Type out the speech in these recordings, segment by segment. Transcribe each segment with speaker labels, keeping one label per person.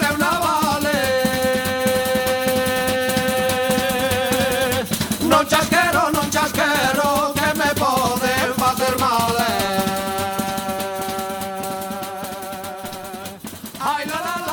Speaker 1: te una vale Non chasquero, non chasquero Que me poden facer mal eh. Ai, la, la, la.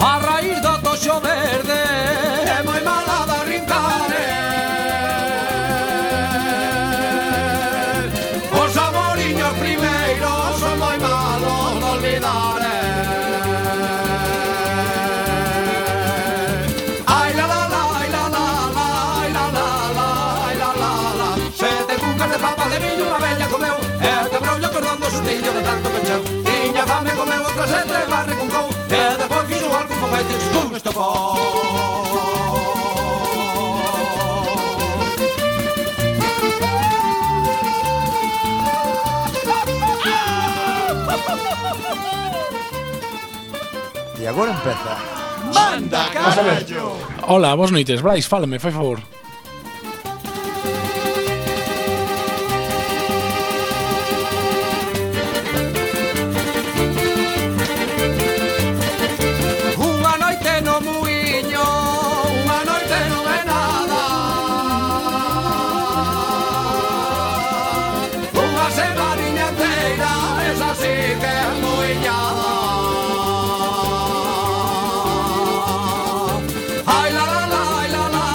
Speaker 1: A raíz do toxo verde É moi mala da rincare Os amoriños primeiros Son moi malos de olvidar eh. Ai la la la, ai la la la Ai la la la, ai la la la Sete cucas de papa de viño Unha bella comeu E te brollo cordón do sustillo de tanto pecheu Tiña fame comeu outra sete Barre con cou E depois fixo algún foguete Pum, estopou
Speaker 2: E agora empeza.
Speaker 3: Hola, vos noites, Brais, fálame, fai favor.
Speaker 1: Unha noite no muiño, unha noite non é nada Unha semaniña inteira, esa sí que é muiñada Ai la la la, ai la la la,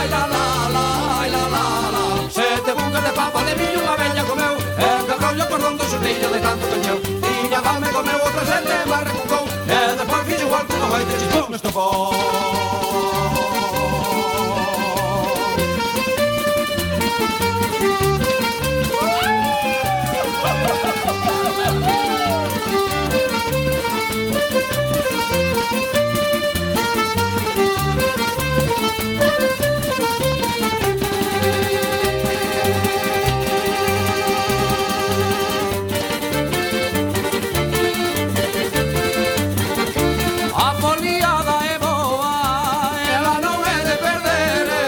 Speaker 1: ai la la la, ai la la la Sete bucas de papa de millo unha bella comeu E que rollo cordón do xurtillo de tanto cancheu Tiña fame comeu outra sete, mas recucou E despois fixo igual que non vai ter xipón estopou A foliada é boa, ela non é de perder eh.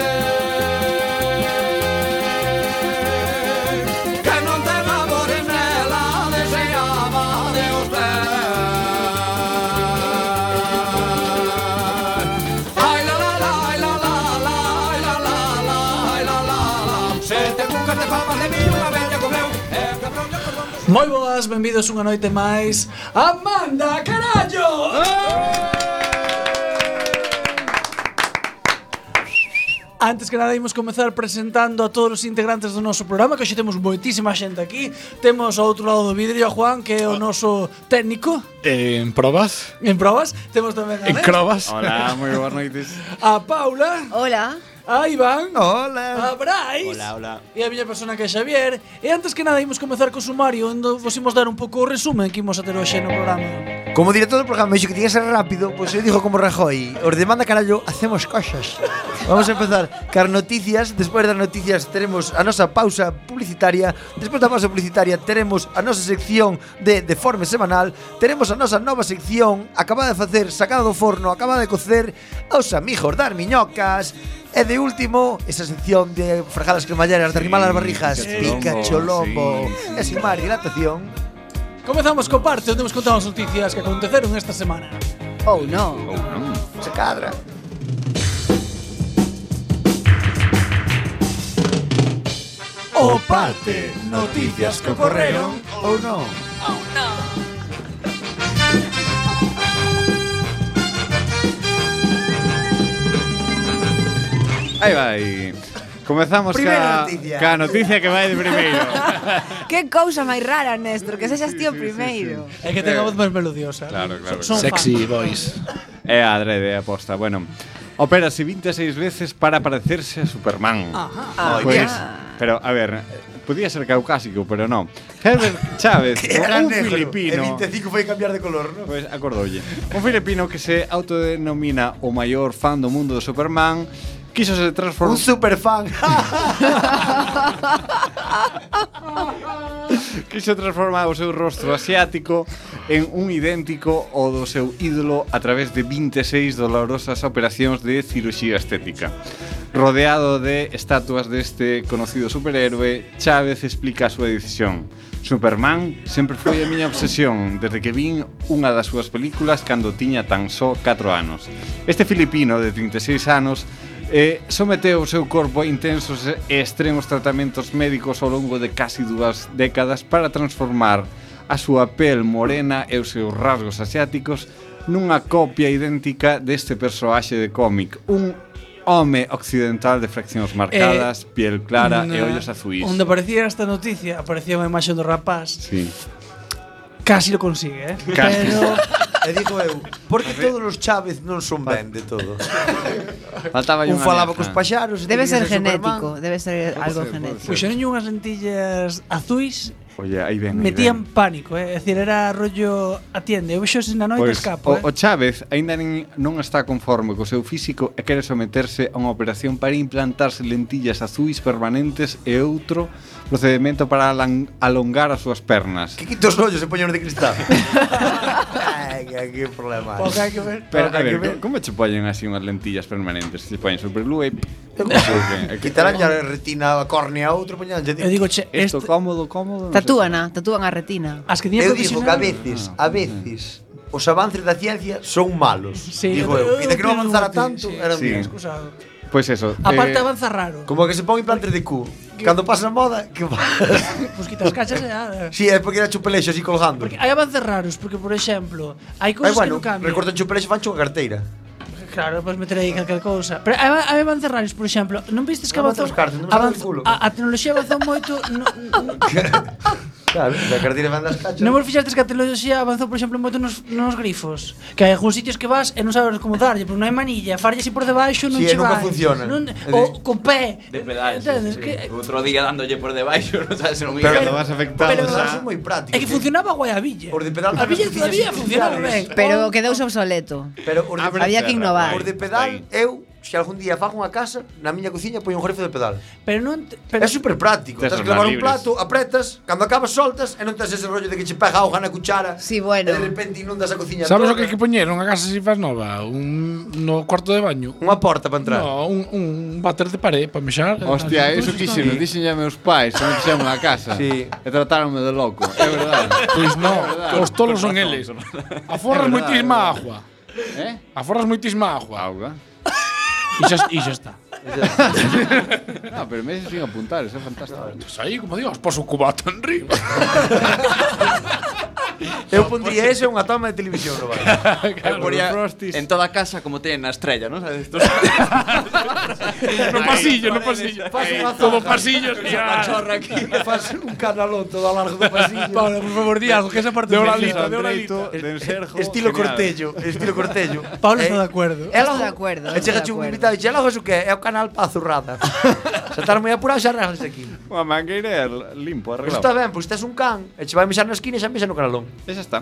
Speaker 1: Que non te labores nela, deseaba de os ver Ai la la la, ai la la la, ai la la la, ai la la la Sete cucas de papas de mí, unha bella comeu E que brollo cordón do
Speaker 4: Moi boas, benvidos unha noite máis a Eh! Manda Carallo! Antes que nada, imos comezar presentando a todos os integrantes do noso programa Que hoxe temos moitísima xente aquí Temos ao outro lado do vidrio a Juan, que é o noso técnico
Speaker 3: En probas,
Speaker 4: en probas Temos tamén a,
Speaker 3: en
Speaker 4: Alex,
Speaker 3: crobas.
Speaker 5: Hola, moi boas noites.
Speaker 4: a Paula,
Speaker 6: Hola.
Speaker 4: a Iván
Speaker 7: Hola
Speaker 4: A Brais
Speaker 5: Hola, hola.
Speaker 4: E a miña persona que é Xavier E antes que nada imos comezar co sumario Onde vos imos dar un pouco o resumen que imos a ter hoxe no programa
Speaker 8: Como director do programa dixo que tiña que ser rápido, pois pues eu dijo como Rajoy, os de manda carallo, hacemos coxas. Vamos a empezar car noticias, despois das noticias teremos a nosa pausa publicitaria, despois da pausa publicitaria teremos a nosa sección de deforme semanal, teremos a nosa nova sección acabada de facer, sacada do forno, acabada de cocer, aos amigos dar miñocas, E de último, esa sección de fregadas cremalleras de arrimar as barrijas,
Speaker 5: picacholombo,
Speaker 8: pica cholombo,
Speaker 5: sí,
Speaker 8: e sin máis dilatación,
Speaker 4: Comezamos co parte onde vos contamos noticias que aconteceron esta semana
Speaker 6: Oh, no.
Speaker 5: Ou non.
Speaker 8: se cadra.
Speaker 4: O
Speaker 7: Parte Noticias que ocorreron ou non
Speaker 6: Oh, no.
Speaker 5: Aí vai. Comezamos
Speaker 8: Primeira
Speaker 5: ca,
Speaker 8: noticia.
Speaker 5: ca noticia que vai de primeiro.
Speaker 6: Que cousa máis rara, Néstor, que sexas tío primeiro.
Speaker 4: É que tenga voz
Speaker 5: Eh.
Speaker 4: máis melodiosa.
Speaker 5: Claro, claro.
Speaker 4: Son
Speaker 3: Sexy boys.
Speaker 5: É a adrede a aposta. Bueno, opérase 26 veces para parecerse a Superman.
Speaker 6: Ah,
Speaker 5: Pues,
Speaker 6: ya.
Speaker 5: pero, a ver, eh, podía ser caucásico, pero no. Herbert Chávez,
Speaker 8: Era
Speaker 5: un
Speaker 8: negro. E
Speaker 5: filipino.
Speaker 8: 25 foi cambiar de color, non?
Speaker 5: Pois acordoulle. Un filipino que se autodenomina o maior fan do mundo do Superman quiso se
Speaker 8: Un
Speaker 5: transformar
Speaker 8: superfan.
Speaker 5: quiso transformar o seu rostro asiático en un idéntico ao do seu ídolo a través de 26 dolorosas operacións de cirurxía estética. Rodeado de estatuas deste conocido superhéroe, Chávez explica a súa decisión. Superman sempre foi a miña obsesión desde que vin unha das súas películas cando tiña tan só 4 anos. Este filipino de 36 anos Eh, someteu o seu corpo a intensos e extremos tratamentos médicos ao longo de casi dúas décadas para transformar a súa pel morena e os seus rasgos asiáticos nunha copia idéntica deste persoaxe de cómic, un home occidental de fraccións marcadas, eh, piel clara e ollos azuis.
Speaker 4: Onde aparecía esta noticia, aparecía unha imaxe do rapaz.
Speaker 5: Sí.
Speaker 4: Casi lo consigue, eh?
Speaker 5: Casi.
Speaker 4: Pero
Speaker 8: e digo eu, porque todos os Chávez non son ben de todo.
Speaker 5: Faltaba
Speaker 8: Un falaba cos paxaros,
Speaker 6: Debe
Speaker 8: outro
Speaker 6: ser
Speaker 8: quería
Speaker 6: genético,
Speaker 8: Superman.
Speaker 6: debe ser algo
Speaker 5: ser, pode
Speaker 6: genético.
Speaker 5: ser.
Speaker 4: puxeronlle unhas lentillas azuis
Speaker 5: Oye, aí ven, aí
Speaker 4: metían
Speaker 5: ven.
Speaker 4: pánico, eh? É dicir, era rollo atiende, eu vexo na noite
Speaker 5: Pois,
Speaker 4: escapo,
Speaker 5: o, o
Speaker 4: eh?
Speaker 5: Chávez aínda nin, non está conforme co seu físico e quere someterse a unha operación para implantarse lentillas azuis permanentes e outro procedimento para alan- alongar as súas pernas.
Speaker 8: Que quito os ollos e poñeron de cristal. Ai, que, que problema.
Speaker 4: O que Pois hai que ver.
Speaker 5: Pero, a
Speaker 8: Habrá que
Speaker 5: ver,
Speaker 8: ver.
Speaker 5: co- como che poñen así unhas lentillas permanentes? Che poñen superglue e...
Speaker 8: Quitarán a retina, a córnea, outro poñerán.
Speaker 4: Eu digo, che,
Speaker 5: Isto
Speaker 4: este,
Speaker 5: cómodo, cómodo... non sei.
Speaker 6: Tatúana, tatúan a retina.
Speaker 4: as que tiña
Speaker 8: Eu digo que a
Speaker 4: profesional-
Speaker 8: veces, a veces, os avances da ciencia son malos.
Speaker 4: Sí,
Speaker 8: digo eu, que de que non
Speaker 4: creo
Speaker 8: avanzara
Speaker 4: E que-
Speaker 8: tanto,
Speaker 4: sí,
Speaker 8: era
Speaker 4: sí,
Speaker 8: mellor.
Speaker 4: excusado.
Speaker 5: Pois eso.
Speaker 4: Aparte
Speaker 5: eh,
Speaker 4: avanza raro.
Speaker 8: Como que se pon implantes de cu. Cando pasa a moda, que pasa?
Speaker 4: Pois quitas cachas e nada.
Speaker 8: Si, é porque era chupelexo así colgando.
Speaker 4: Porque hai avances raros, porque por exemplo, hai
Speaker 8: Ai,
Speaker 4: cousas que non
Speaker 8: bueno,
Speaker 4: cambian.
Speaker 8: recortan chupelexo e fancho a carteira.
Speaker 4: Claro, podes meter aí calquera cousa. Pero hai, hai avances raros, por exemplo, non vistes que
Speaker 8: Non
Speaker 4: avanzou
Speaker 8: avanzan os cartos, non
Speaker 4: avanz-
Speaker 8: avanzan o culo.
Speaker 4: a, a tecnoloxía avanzou moito, non no,
Speaker 8: Claro, a carteira van das cachas.
Speaker 4: no vos fixastes que a tecnoloxía avanzou, por exemplo, moito nos, nos grifos. Que hai algúns sitios que vas e non sabes como darlle, porque non hai manilla, farlle así por debaixo non
Speaker 8: Sí, e
Speaker 4: che
Speaker 8: nunca
Speaker 4: vai.
Speaker 8: funciona.
Speaker 4: Non,
Speaker 8: É dicir-
Speaker 4: o con pé.
Speaker 9: De pedal, sí,
Speaker 4: Entendes?
Speaker 9: sí.
Speaker 4: Que,
Speaker 9: Outro día dándolle por debaixo, non sabes non
Speaker 8: Pero-
Speaker 5: Cando vas afectado
Speaker 4: pero-
Speaker 5: xa-
Speaker 8: son moi
Speaker 4: é
Speaker 8: prácticos.
Speaker 4: que funcionaba guai a villa.
Speaker 8: Os de pedal
Speaker 4: a villa
Speaker 8: tamén
Speaker 4: todavía
Speaker 8: tiñas
Speaker 4: funcionaba ben. Oh.
Speaker 8: iniciales.
Speaker 6: Pero quedouse obsoleto.
Speaker 8: Pero os de,
Speaker 5: Abre
Speaker 6: Había
Speaker 5: cerra,
Speaker 6: que innovar.
Speaker 5: vai,
Speaker 8: os de
Speaker 5: vai.
Speaker 8: pedal, eu, se algún día fago unha casa, na miña cociña poño un jefe de pedal.
Speaker 4: Pero non pero
Speaker 8: É super práctico.
Speaker 5: Tes
Speaker 8: Tens
Speaker 5: as
Speaker 8: que lavar
Speaker 5: mans
Speaker 8: un
Speaker 5: libres.
Speaker 8: plato, apretas, cando acabas soltas e non tens ese rollo de que che pega a hoja na cuchara.
Speaker 6: Sí, bueno.
Speaker 8: E de repente inundas a cociña toda.
Speaker 3: Sabes o que hai que poñer unha casa así faz nova? Un no cuarto de baño.
Speaker 8: Unha porta para entrar.
Speaker 3: No, un, un váter de paré para mexar.
Speaker 5: Hostia,
Speaker 3: Así,
Speaker 5: eso
Speaker 3: pues,
Speaker 5: quixen,
Speaker 3: está.
Speaker 5: dixen a meus pais, non fixemos na casa.
Speaker 8: Sí.
Speaker 5: E trataronme de loco, é verdade.
Speaker 3: Pois non,
Speaker 5: verdade.
Speaker 3: os tolos son
Speaker 5: Con razón,
Speaker 3: eles.
Speaker 5: con
Speaker 3: Aforras
Speaker 5: É verdade, é
Speaker 3: moitísima
Speaker 5: verdade.
Speaker 3: agua.
Speaker 5: Eh?
Speaker 3: Aforras moitísima agua.
Speaker 5: Auga.
Speaker 3: E xa, e xa está.
Speaker 5: Ah, pero me sin apuntar, eso é fantástico.
Speaker 3: Pois aí, Pues como digo, os poso o cubato en riba.
Speaker 8: Eu pondría ese e unha toma de televisión no bar.
Speaker 9: Eu poría en toda a casa como ten na estrella, non sabes? Estos
Speaker 3: no pasillo, no pasillo. Como pasillos.
Speaker 9: a
Speaker 3: xa.
Speaker 9: chorra aquí.
Speaker 8: Fas un canalón todo ao largo
Speaker 5: Pues
Speaker 8: do pasillo.
Speaker 4: Pablo, por favor, di algo, que esa parte
Speaker 3: De hora
Speaker 4: funciona.
Speaker 3: lista, de hora lista.
Speaker 8: Estilo cortello, estilo cortello. Eh,
Speaker 4: Pablo está de acuerdo.
Speaker 6: Estou de acuerdo,
Speaker 8: E
Speaker 6: estou
Speaker 8: chega
Speaker 6: de
Speaker 8: un
Speaker 6: acuerdo.
Speaker 8: invitado e dixe, "Logo, iso que é o canal pa zurrada." Xa estar moi apurado xa arreglas aquí.
Speaker 5: Unha mangueira limpo,
Speaker 8: Pois está
Speaker 5: arreglado.
Speaker 8: ben, pois tes un can e che vai mexar na esquina e xa mexa no canalón.
Speaker 5: E xa está.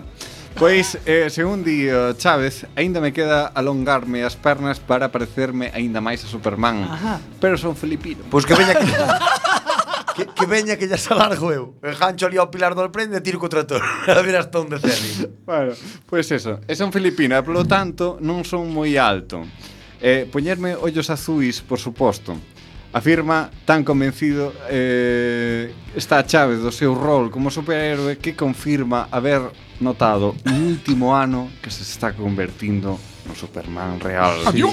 Speaker 5: Pois, eh, según di eh, Chávez, aínda me queda alongarme as pernas para parecerme aínda máis a Superman.
Speaker 8: Ah.
Speaker 4: Ajá.
Speaker 5: Pero son filipino.
Speaker 8: Pois que veña que... que, que veña que ya se alargo eu. Engancho ali ao pilar do prende e tiro co trator. A ver hasta onde cede.
Speaker 5: Bueno, pois eso, e son filipina, e polo tanto non son moi alto. Eh, poñerme ollos azuis, por suposto. Afirma tan convencido eh, está Chávez do seu rol como superhéroe que confirma haber notado no último ano que se está convertindo no Superman real.
Speaker 9: The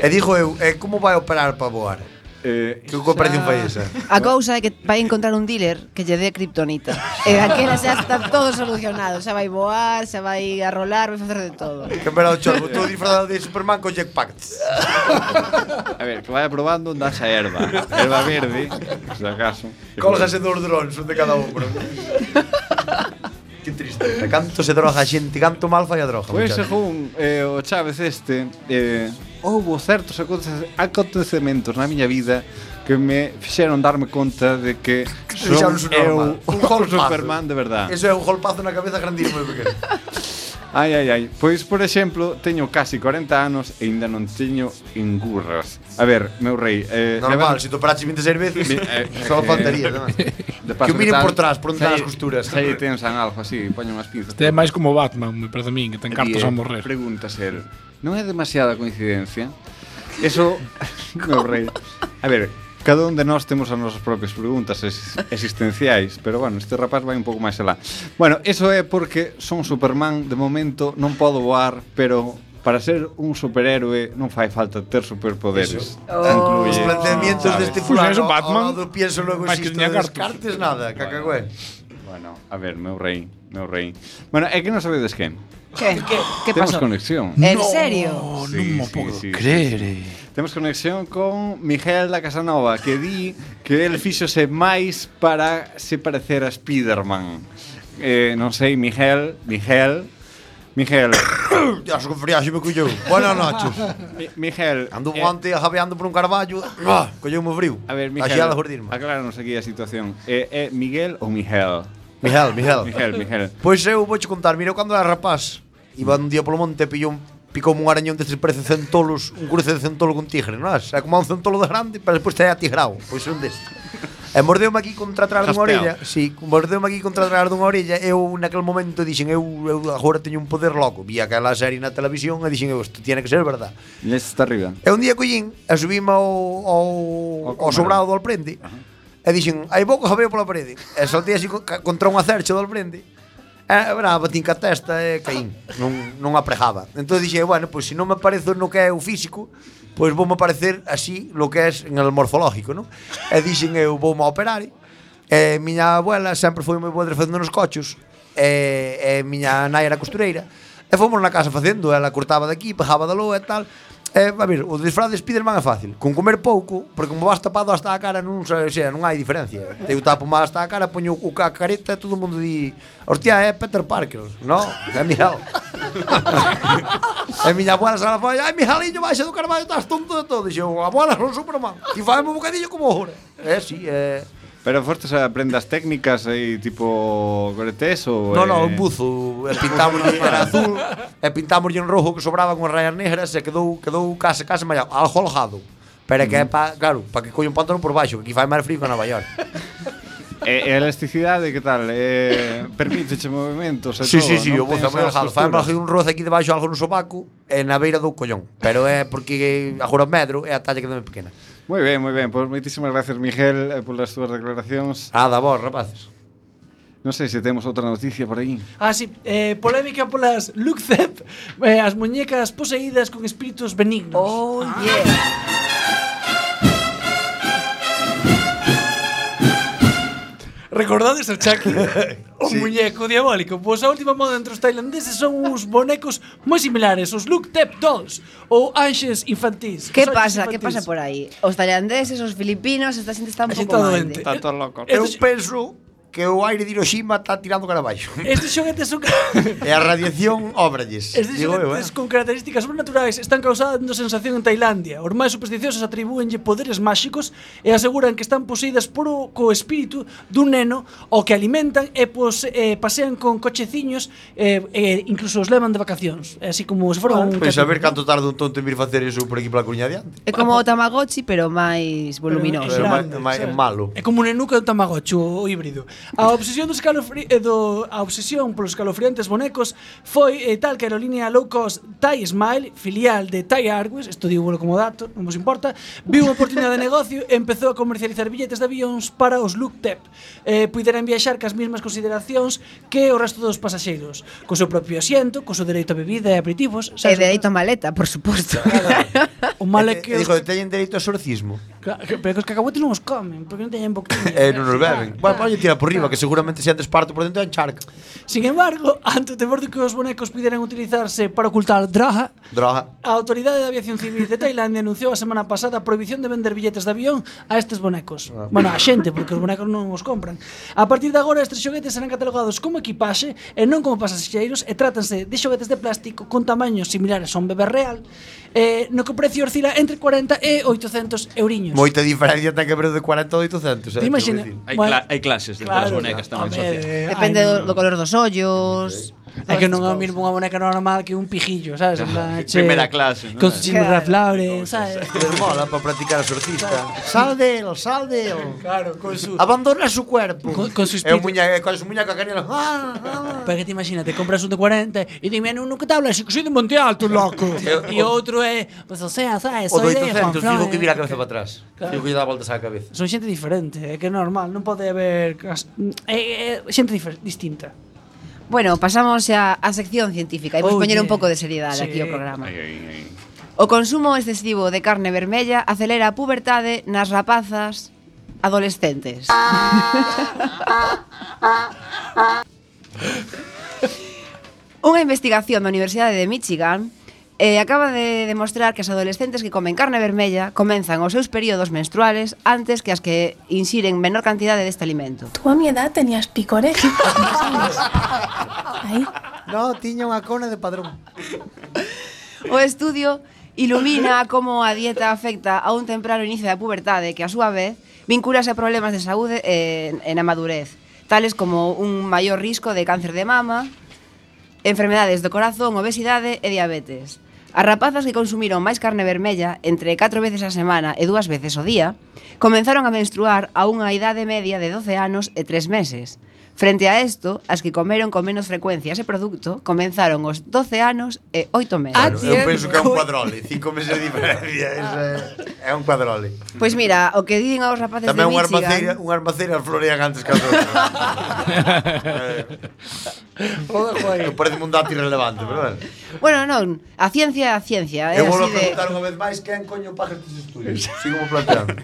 Speaker 8: E
Speaker 9: real.
Speaker 8: dixo eu, eh, como vai operar para voar?
Speaker 5: Eh,
Speaker 8: Que comparación fai esa?
Speaker 6: A cousa é que vai encontrar un dealer que lle dé kriptonita. e daquela xa está todo solucionado. Xa vai voar, xa vai a rolar, vai facer de todo.
Speaker 8: Que me era o chorbo, todo disfrazado de Superman con jetpack.
Speaker 5: A ver, que vaya probando, das a herba. Herba verde, por si acaso.
Speaker 8: Colgase dos drones, un de cada hombro. Qué triste. A canto se droga a xente, canto mal fai a droga.
Speaker 5: Pois
Speaker 8: muchacho.
Speaker 5: según eh, o Chávez este eh, Houbo certos aconte- acontecementos na miña vida Que me fixeron darme conta de que Son
Speaker 8: Fixaron su normal.
Speaker 5: eu
Speaker 8: Un
Speaker 5: o
Speaker 8: golpazo.
Speaker 5: Superman de verdad Eh,
Speaker 8: Eso é un golpazo na cabeza grandísimo e pequeno.
Speaker 5: Ai, ai, ai Pois, por exemplo, teño casi 40 anos E ainda non teño engurras A ver, meu rei eh,
Speaker 8: Normal,
Speaker 5: levan-
Speaker 8: se si paraches 26 veces,
Speaker 5: Mi- eh,
Speaker 8: só
Speaker 5: eh,
Speaker 8: faltaría, además.
Speaker 5: de paso
Speaker 8: que o miren
Speaker 5: tal,
Speaker 8: por trás, por onde están
Speaker 5: salle-
Speaker 8: as costuras.
Speaker 5: Salle tensan algo así, poño unhas pinzas
Speaker 3: Este é máis como Batman, me parece a min, que ten cartas
Speaker 5: E,
Speaker 3: a
Speaker 5: eh,
Speaker 3: morrer.
Speaker 5: Pregunta ser, non é demasiada coincidencia? Eso, meu rei. A ver, cada un de nós temos as nosas propias preguntas ex- existenciais, pero bueno, este rapaz vai un pouco máis alá. Bueno, eso é porque son Superman, de momento non podo voar, pero para ser un superhéroe non fai falta ter superpoderes.
Speaker 8: Oh. Os
Speaker 5: Incluye,
Speaker 8: planteamientos
Speaker 5: sabes?
Speaker 8: deste
Speaker 3: Pois
Speaker 8: fulano,
Speaker 3: eso, Batman.
Speaker 8: ao lado pienso logo
Speaker 3: Máis que
Speaker 8: existo,
Speaker 3: tiña cartos.
Speaker 8: descartes nada, cacagüe.
Speaker 5: Bueno, a ver, meu rei, meu rei. Bueno, é que non sabedes quen.
Speaker 6: Que? Que
Speaker 5: Temos
Speaker 6: pasou?
Speaker 5: conexión.
Speaker 6: En serio?
Speaker 3: Oh,
Speaker 5: Sí,
Speaker 3: non mo
Speaker 5: sí,
Speaker 3: podo
Speaker 5: sí, sí,
Speaker 3: creer.
Speaker 5: Temos conexión con Miguel da Casanova Que di que el fixose máis para se parecer a Spiderman eh, Non sei, Miguel, Miguel, Miguel,
Speaker 8: Ya se confría, xe me colleu. Buenas noches.
Speaker 5: Mi- Miguel
Speaker 8: Ando
Speaker 5: eh, Ah.
Speaker 8: guante, jabeando por un carballo, Ah, colleu mo frío.
Speaker 5: A ver,
Speaker 8: Axí a
Speaker 5: Miguel,
Speaker 8: jordirme.
Speaker 5: acláranos aquí a situación É eh, eh, Miguel ou Miguel?
Speaker 8: Miguel, Miguel.
Speaker 5: Miguel, Miguel
Speaker 8: Pois eu vou contar, mira, eu cando era rapaz Iba un día polo monte e pillou un picou un arañón destes parece centolos, un cruce de centolo con tigre, non é? É como un centolo de grande, pero despois traía tigrao, pois un destes. E mordeume aquí contra atrás dunha
Speaker 5: Jaspeado.
Speaker 8: orella, si, sí, mordeume aquí contra atrás dunha orella, eu naquel momento dixen, eu, eu agora teño un poder loco. Vi aquela serie na televisión e dixen, eu, isto tiene que ser verdad.
Speaker 5: Nes está arriba
Speaker 8: E un día collín e subime ao, ao,
Speaker 5: Ao
Speaker 8: ao sobrado do Alprende e dixen, hai pouco jabeo pola parede. E saltei así co- ca- contra un acercho do Alprende e verá, batín ca testa e caín. Non, non apregaba. Entón dixen, bueno, pois se non me parezo no que é o físico, pois vou me parecer así lo que é en el morfológico, non? E dixen, eu vou me operar. E miña abuela sempre foi moi boa facendo nos cochos. E, e miña nai era costureira. E fomos na casa facendo, ela cortaba daqui, pegaba da loa e tal. Eh, a ver, o disfraz de Spiderman é fácil Con comer pouco, porque como vas tapado hasta a cara Non, sei, o sea, non hai diferencia Eu tapo máis hasta a cara, poño o ca careta E todo o mundo di Hostia, é Peter Parker No, é Miguel E miña abuela xa foi Ai, Miguelinho, baixa do carvalho, estás tonto de todo Dixo, abuela, son Superman Ti fai un bocadillo como Eh, ahora É, sí, é
Speaker 5: Pero fostes a prendas técnicas aí tipo coretes ou
Speaker 8: No,
Speaker 5: eh,
Speaker 8: no, un buzo E pintámoslle era azul E pintámoslle en rojo que sobraba con rayas negras E quedou, quedou case, case mallado Aljolgado Pero é que é pa, claro, para que colla un pantalón por baixo Que aquí fai máis frío que en Nova York
Speaker 5: E, e a elasticidade, que tal? Eh, permítete movimentos e
Speaker 8: Sí,
Speaker 5: todo,
Speaker 8: sí, sí,
Speaker 5: non
Speaker 8: o
Speaker 5: tens
Speaker 8: buzo é moi
Speaker 5: as
Speaker 8: aljado Fai
Speaker 5: costuras.
Speaker 8: máis un roce aquí debaixo algo no sobaco E na beira do collón Pero é porque agora medro É a talla que dame pequena
Speaker 5: Moi ben, moi ben. Pois moitísimas Pues gracias, Miguel, eh, polas túas declaracións.
Speaker 8: Nada, vos, rapaces
Speaker 5: Non sei se temos outra noticia por aí.
Speaker 4: Ah, sí, eh, polémica polas Lookzep, eh, as muñecas poseídas con espíritus benignos. Ah.
Speaker 6: Oh, yeah.
Speaker 4: Recordades a Chucky? un muñeco diabólico. Pois a última moda entre os tailandeses son uns bonecos moi similares, os Lookzep dolls ou anxes infantís.
Speaker 6: Que
Speaker 4: os anxes
Speaker 6: pasa? Que
Speaker 4: infantís.
Speaker 6: pasa por aí? Os tailandeses, os filipinos, esta xente está un
Speaker 4: A xente
Speaker 6: pouco mal.
Speaker 4: está doente.
Speaker 6: de-
Speaker 5: Está todo loco.
Speaker 8: Eu
Speaker 4: Estes-
Speaker 8: penso que o aire de Hiroshima está tirando cara abaixo
Speaker 4: Estes xoguetes son
Speaker 8: E a radiación óbralles
Speaker 4: Estes
Speaker 8: Digo eu, eh
Speaker 4: xoguetes con características sobrenaturais están causando sensación en Tailandia. Os máis supersticiosos atribúenlle poderes máxicos e aseguran que están poseídas por o, co espírito dun neno o que alimentan e pose, eh, pasean con cocheciños e eh, eh, incluso os levan de vacacións. É Así como se foran un
Speaker 8: Pois a ver
Speaker 4: cativo,
Speaker 8: canto tarda un tonto en vir facer iso por aquí pola Coruña adiante.
Speaker 6: É como o Tamagotchi, pero máis
Speaker 4: pero
Speaker 6: voluminoso.
Speaker 4: en
Speaker 8: Pero
Speaker 4: grande,
Speaker 8: ma- ma- é
Speaker 4: sabes?
Speaker 8: malo.
Speaker 4: É como un enuco do Tamagotchi, o, o híbrido. A obsesión dos calofri eh, do a obsesión polos calofriantes bonecos foi eh, tal que a aerolínea low cost Thai Smile, filial de Thai Airways, isto digo como dato, non vos importa, viu unha oportunidade de negocio e empezou a comercializar billetes de avións para os Lufthansa. Eh, puideran viaxar cas mesmas consideracións que o resto dos pasaxeiros, co seu propio asiento, co seu dereito a bebida e aperitivos,
Speaker 6: E
Speaker 4: sabes?
Speaker 6: dereito a maleta, por suposto.
Speaker 4: O mal é
Speaker 8: E-
Speaker 4: que...
Speaker 8: e
Speaker 4: os-
Speaker 8: Dijo, Eh, teñen dereito ao exorcismo.
Speaker 4: Claro, que- Pero que os cacahuetes non os comen, porque non teñen boquilla.
Speaker 8: E non os beben. Bueno, poño tira por riba, que seguramente se antes parto por dentro encharca.
Speaker 4: Sin embargo, ante o temor de que os bonecos pudieran utilizarse para ocultar draga,
Speaker 8: Droga.
Speaker 4: a Autoridade de Aviación Civil de Tailandia anunciou a semana pasada a prohibición de vender billetes de avión a estes bonecos.
Speaker 8: Ah.
Speaker 4: Bueno, a xente, porque os bonecos non os compran. A partir de agora, estes xoguetes serán catalogados como equipaxe e non como pasaxeiros e trátanse de xoguetes de plástico con tamaños similares a un bebé real, eh, no que o precio oscila entre 40 e 800 euriños.
Speaker 8: Moita diferencia tan que prezo de 40 a 800, eh?
Speaker 4: Te imagina-
Speaker 8: quiero decir.
Speaker 9: Hai,
Speaker 4: Bueno,
Speaker 9: cla hai clases de
Speaker 4: claro,
Speaker 9: las bonecas tamén socias.
Speaker 8: Eh,
Speaker 6: Depende do, do color dos ollos.
Speaker 4: É que non é o mesmo unha boneca normal que un pijillo, sabes? En plan, che,
Speaker 9: Primeira clase, non?
Speaker 4: Con sus chinos
Speaker 6: Claro.
Speaker 4: raflables, sabes?
Speaker 8: Les mola para practicar exorcista. Sal del, sal del.
Speaker 4: Claro, con su...
Speaker 8: Abandona su cuerpo.
Speaker 4: Con- con su
Speaker 8: É un eh,
Speaker 4: espíritu.
Speaker 8: muñeca, con su Ah, muñeca canela. Ah, ah.
Speaker 4: Porque te imaginas, te compras un de 40 e te viene uno que te habla así que soy de Monte Alto, loco. e outro é, pues, o sea, sabes,
Speaker 8: O
Speaker 4: soy
Speaker 8: de
Speaker 4: de
Speaker 8: 800,
Speaker 4: Juanflán,
Speaker 8: digo que
Speaker 4: eh.
Speaker 8: vira a cabeza para atrás.
Speaker 4: Claro.
Speaker 8: Digo que lle dá voltas á cabeza.
Speaker 4: Son xente diferente, é que é normal, non pode haber cas- é, é, xente difer- distinta.
Speaker 6: Bueno, pasamos xa á sección científica. Imos
Speaker 4: Oye.
Speaker 6: poñer un pouco de seriedade
Speaker 4: Sí.
Speaker 6: aquí ao programa.
Speaker 5: Ai, ai, ai.
Speaker 6: O consumo excesivo de carne vermella acelera a puberdade nas rapazas adolescentes. Unha investigación da Universidade de Michigan eh, acaba de demostrar que as adolescentes que comen carne vermella comenzan os seus períodos menstruales antes que as que inxiren menor cantidade deste alimento.
Speaker 10: Tú a mi edad tenías picores. Ahí.
Speaker 8: No, tiña unha cona de padrón.
Speaker 6: O estudio ilumina como a dieta afecta a un temprano inicio da pubertade que a súa vez vinculase a problemas de saúde en, en a madurez, tales como un maior risco de cáncer de mama, enfermedades do corazón, obesidade e diabetes. As rapazas que consumiron máis carne vermella entre 4 veces a semana e dúas veces o día comenzaron a menstruar a unha idade media de 12 anos e 3 meses. Frente a isto, as que comeron con menos frecuencia ese produto comenzaron os 12 anos e 8 meses.
Speaker 4: Ah,
Speaker 8: Eu
Speaker 4: Bien.
Speaker 8: penso que é un cuadrole, cinco meses de diferencia, esa é, é un cuadrole.
Speaker 6: Pois mira, o que din aos rapaces
Speaker 8: Tamén
Speaker 6: de
Speaker 8: unha
Speaker 6: Michigan...
Speaker 8: armaceira, unha armaceira florean antes que a outra. eh, parece un dato irrelevante, pero bueno.
Speaker 6: Bueno, non, a ciencia é a ciencia, é
Speaker 8: Eu
Speaker 6: Eh,
Speaker 8: volvo
Speaker 6: así
Speaker 8: a
Speaker 6: de...
Speaker 8: preguntar unha vez máis quen coño paga estes estudios. Sigo como planteando.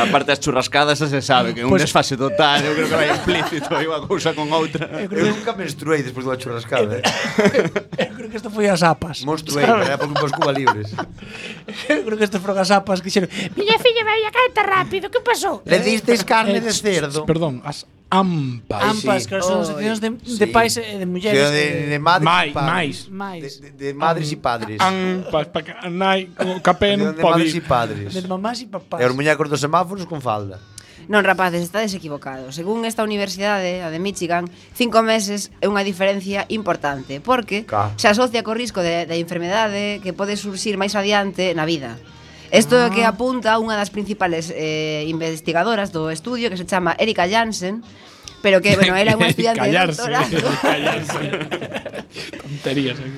Speaker 9: A parte das churrascadas xa se sabe que é un
Speaker 4: Pois-
Speaker 9: desfase total, Ah, eu creo que vai implícito aí unha cousa con outra.
Speaker 4: Eu
Speaker 8: Eu
Speaker 4: creo, que,
Speaker 8: nunca menstruei despois dunha churrascada. Eh?
Speaker 4: eu creo que isto foi as apas.
Speaker 8: Monstruei, na época un Cuba libres.
Speaker 4: Eu creo que isto foron as apas que xeron Miña filla vai a caeta rápido, que pasou?
Speaker 8: Le disteis carne
Speaker 3: Eh,
Speaker 8: de
Speaker 3: ch-
Speaker 8: cerdo.
Speaker 3: Perdón, as ampas.
Speaker 4: Ampas, que son asociacións de, de
Speaker 8: Sí.
Speaker 4: pais e de mulleres.
Speaker 8: Xeo de, de madres
Speaker 3: Mai,
Speaker 8: e padres.
Speaker 3: mais.
Speaker 4: Mais.
Speaker 8: De, de, de madres e padres.
Speaker 3: Ampas, pa ca- nai, co- capé
Speaker 8: Xeo
Speaker 3: non
Speaker 8: de
Speaker 3: pode
Speaker 8: madres e
Speaker 3: ir.
Speaker 8: padres.
Speaker 4: de mamás e papás.
Speaker 8: E os muñecos dos semáforos con falda.
Speaker 6: Non, rapaces, está desequivocado. Según esta universidade, a de Michigan, cinco meses é unha diferencia importante, porque
Speaker 8: Ca.
Speaker 6: se asocia co risco de, de enfermedade que pode surxir máis adiante na vida. Isto é o que apunta unha das principales eh, investigadoras do estudio, que se chama Erika Jansen, pero que, bueno, era unha estudiante de
Speaker 3: Callarse,
Speaker 6: doctorado.
Speaker 3: callarse. Tonterías. eh.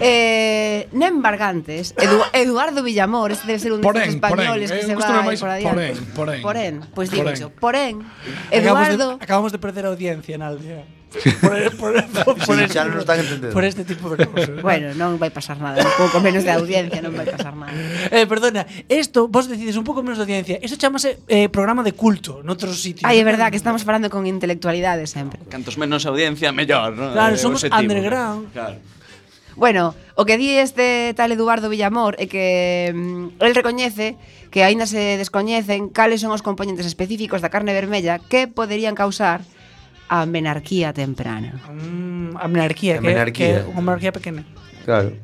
Speaker 6: Eh, Nen Bargantes, Edu- Eduardo Villamor, este debe ser un destes
Speaker 3: Porén,
Speaker 6: españoles que
Speaker 3: porén, eh,
Speaker 6: se
Speaker 3: gústame
Speaker 6: va
Speaker 3: máis
Speaker 6: por adiante.
Speaker 3: porén, porén.
Speaker 6: Porén, pois digo
Speaker 3: Porén.
Speaker 6: yo, porén,
Speaker 4: Acabamos de-
Speaker 6: Eduardo,
Speaker 4: acabamos de perder audiencia en Aldea. Por, por, por, por
Speaker 8: Sí,
Speaker 4: este
Speaker 8: xa non
Speaker 4: tipo-
Speaker 8: están entendendo.
Speaker 4: por este tipo de cosas.
Speaker 6: bueno, non vai pasar nada, un pouco menos de audiencia, non vai pasar nada.
Speaker 4: Eh, perdona, esto, vos decides un pouco menos de audiencia. Isto chamase eh, programa de culto noutros sitios.
Speaker 6: Ai, é verdad que estamos falando con intelectualidade sempre.
Speaker 9: Cantos menos audiencia, Eh, mellor, non?
Speaker 4: Claro,
Speaker 9: É o
Speaker 4: somos
Speaker 9: objetivo.
Speaker 4: underground.
Speaker 9: Claro.
Speaker 6: Bueno, o que di este tal Eduardo Villamor é que mm, el recoñece que aínda se descoñecen cales son os componentes específicos da carne vermella que poderían causar a menarquía temprana.
Speaker 4: Mm, a menarquía,
Speaker 8: A
Speaker 4: que,
Speaker 8: menarquía.
Speaker 4: que unha menarquía pequena.
Speaker 8: Claro.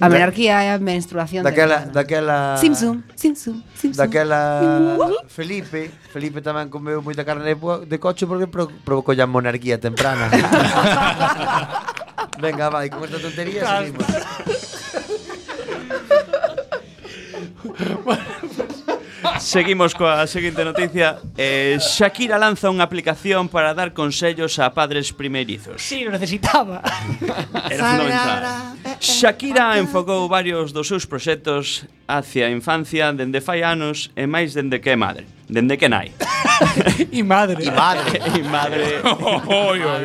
Speaker 6: A menarquía é a menstruación
Speaker 8: Daquela,
Speaker 6: temprana.
Speaker 8: daquela...
Speaker 6: Simsum, Simsum, Simsum.
Speaker 8: Daquela Felipe, Felipe tamén comeu moita carne de, po- de coche porque pro, provocou a monarquía temprana. Venga, vai, con esta tontería seguimos.
Speaker 9: Seguimos coa seguinte noticia. Eh, Shakira lanza unha aplicación para dar consellos a padres primerizos.
Speaker 4: Sí, lo necesitaba.
Speaker 9: Era fundamental. Shakira enfocou varios dos seus proxectos hacia a infancia dende fai anos e máis dende que é madre, dende que nai.
Speaker 4: e madre.
Speaker 8: E madre.
Speaker 9: E madre
Speaker 3: Oi, oi, oi.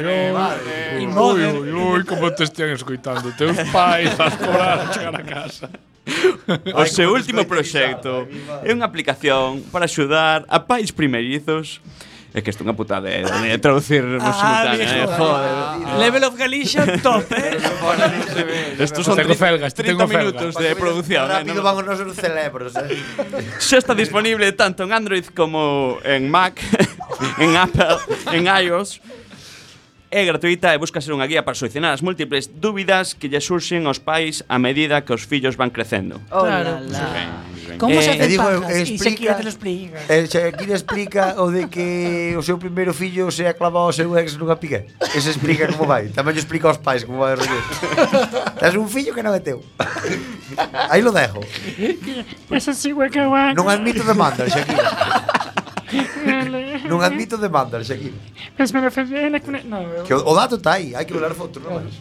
Speaker 3: Oi, oi, oi, como te están escoitando. Teus pais vas cobrar a chegar a casa.
Speaker 9: O seu último proxecto é unha aplicación para axudar a pais primerizos É que isto é unha putada de, de traducir no simultáneo, eh, joder.
Speaker 4: Level of Galicia, top, eh?
Speaker 9: Estos son
Speaker 3: Tengo
Speaker 9: 30
Speaker 3: felgas, tengo felgas.
Speaker 9: minutos de producción. eh,
Speaker 8: Rápido
Speaker 9: non-
Speaker 8: van os nosos cerebros, eh.
Speaker 9: Xa está disponible tanto en Android como en Mac, en Apple, en iOS. É gratuita e busca ser unha guía para solucionar as múltiples dúbidas que lle surxen aos pais a medida que os fillos van crecendo.
Speaker 6: Oh,
Speaker 4: Claro.
Speaker 6: la, la.
Speaker 4: ¿Cómo
Speaker 9: Eh,
Speaker 4: se
Speaker 8: e
Speaker 4: hacen
Speaker 8: digo,
Speaker 4: pajas?
Speaker 8: eh,
Speaker 4: y
Speaker 8: explica-
Speaker 4: Shakira te lo explica.
Speaker 8: E Shakira explica o de que o seu primeiro fillo se ha clavado ao seu ex nunha pica. Ese explica como vai. Tamén lle explica aos pais como vai o rollo. Tens un fillo que non é teu. Aí lo dejo.
Speaker 10: Eso sí, güey, qué guay.
Speaker 8: Non admito demanda, Shakira. Non admito demanda, Shakira.
Speaker 10: Pues me refería a la cuna. No, güey.
Speaker 8: Que o, o dato está aí, hai que volar fotos, non máis.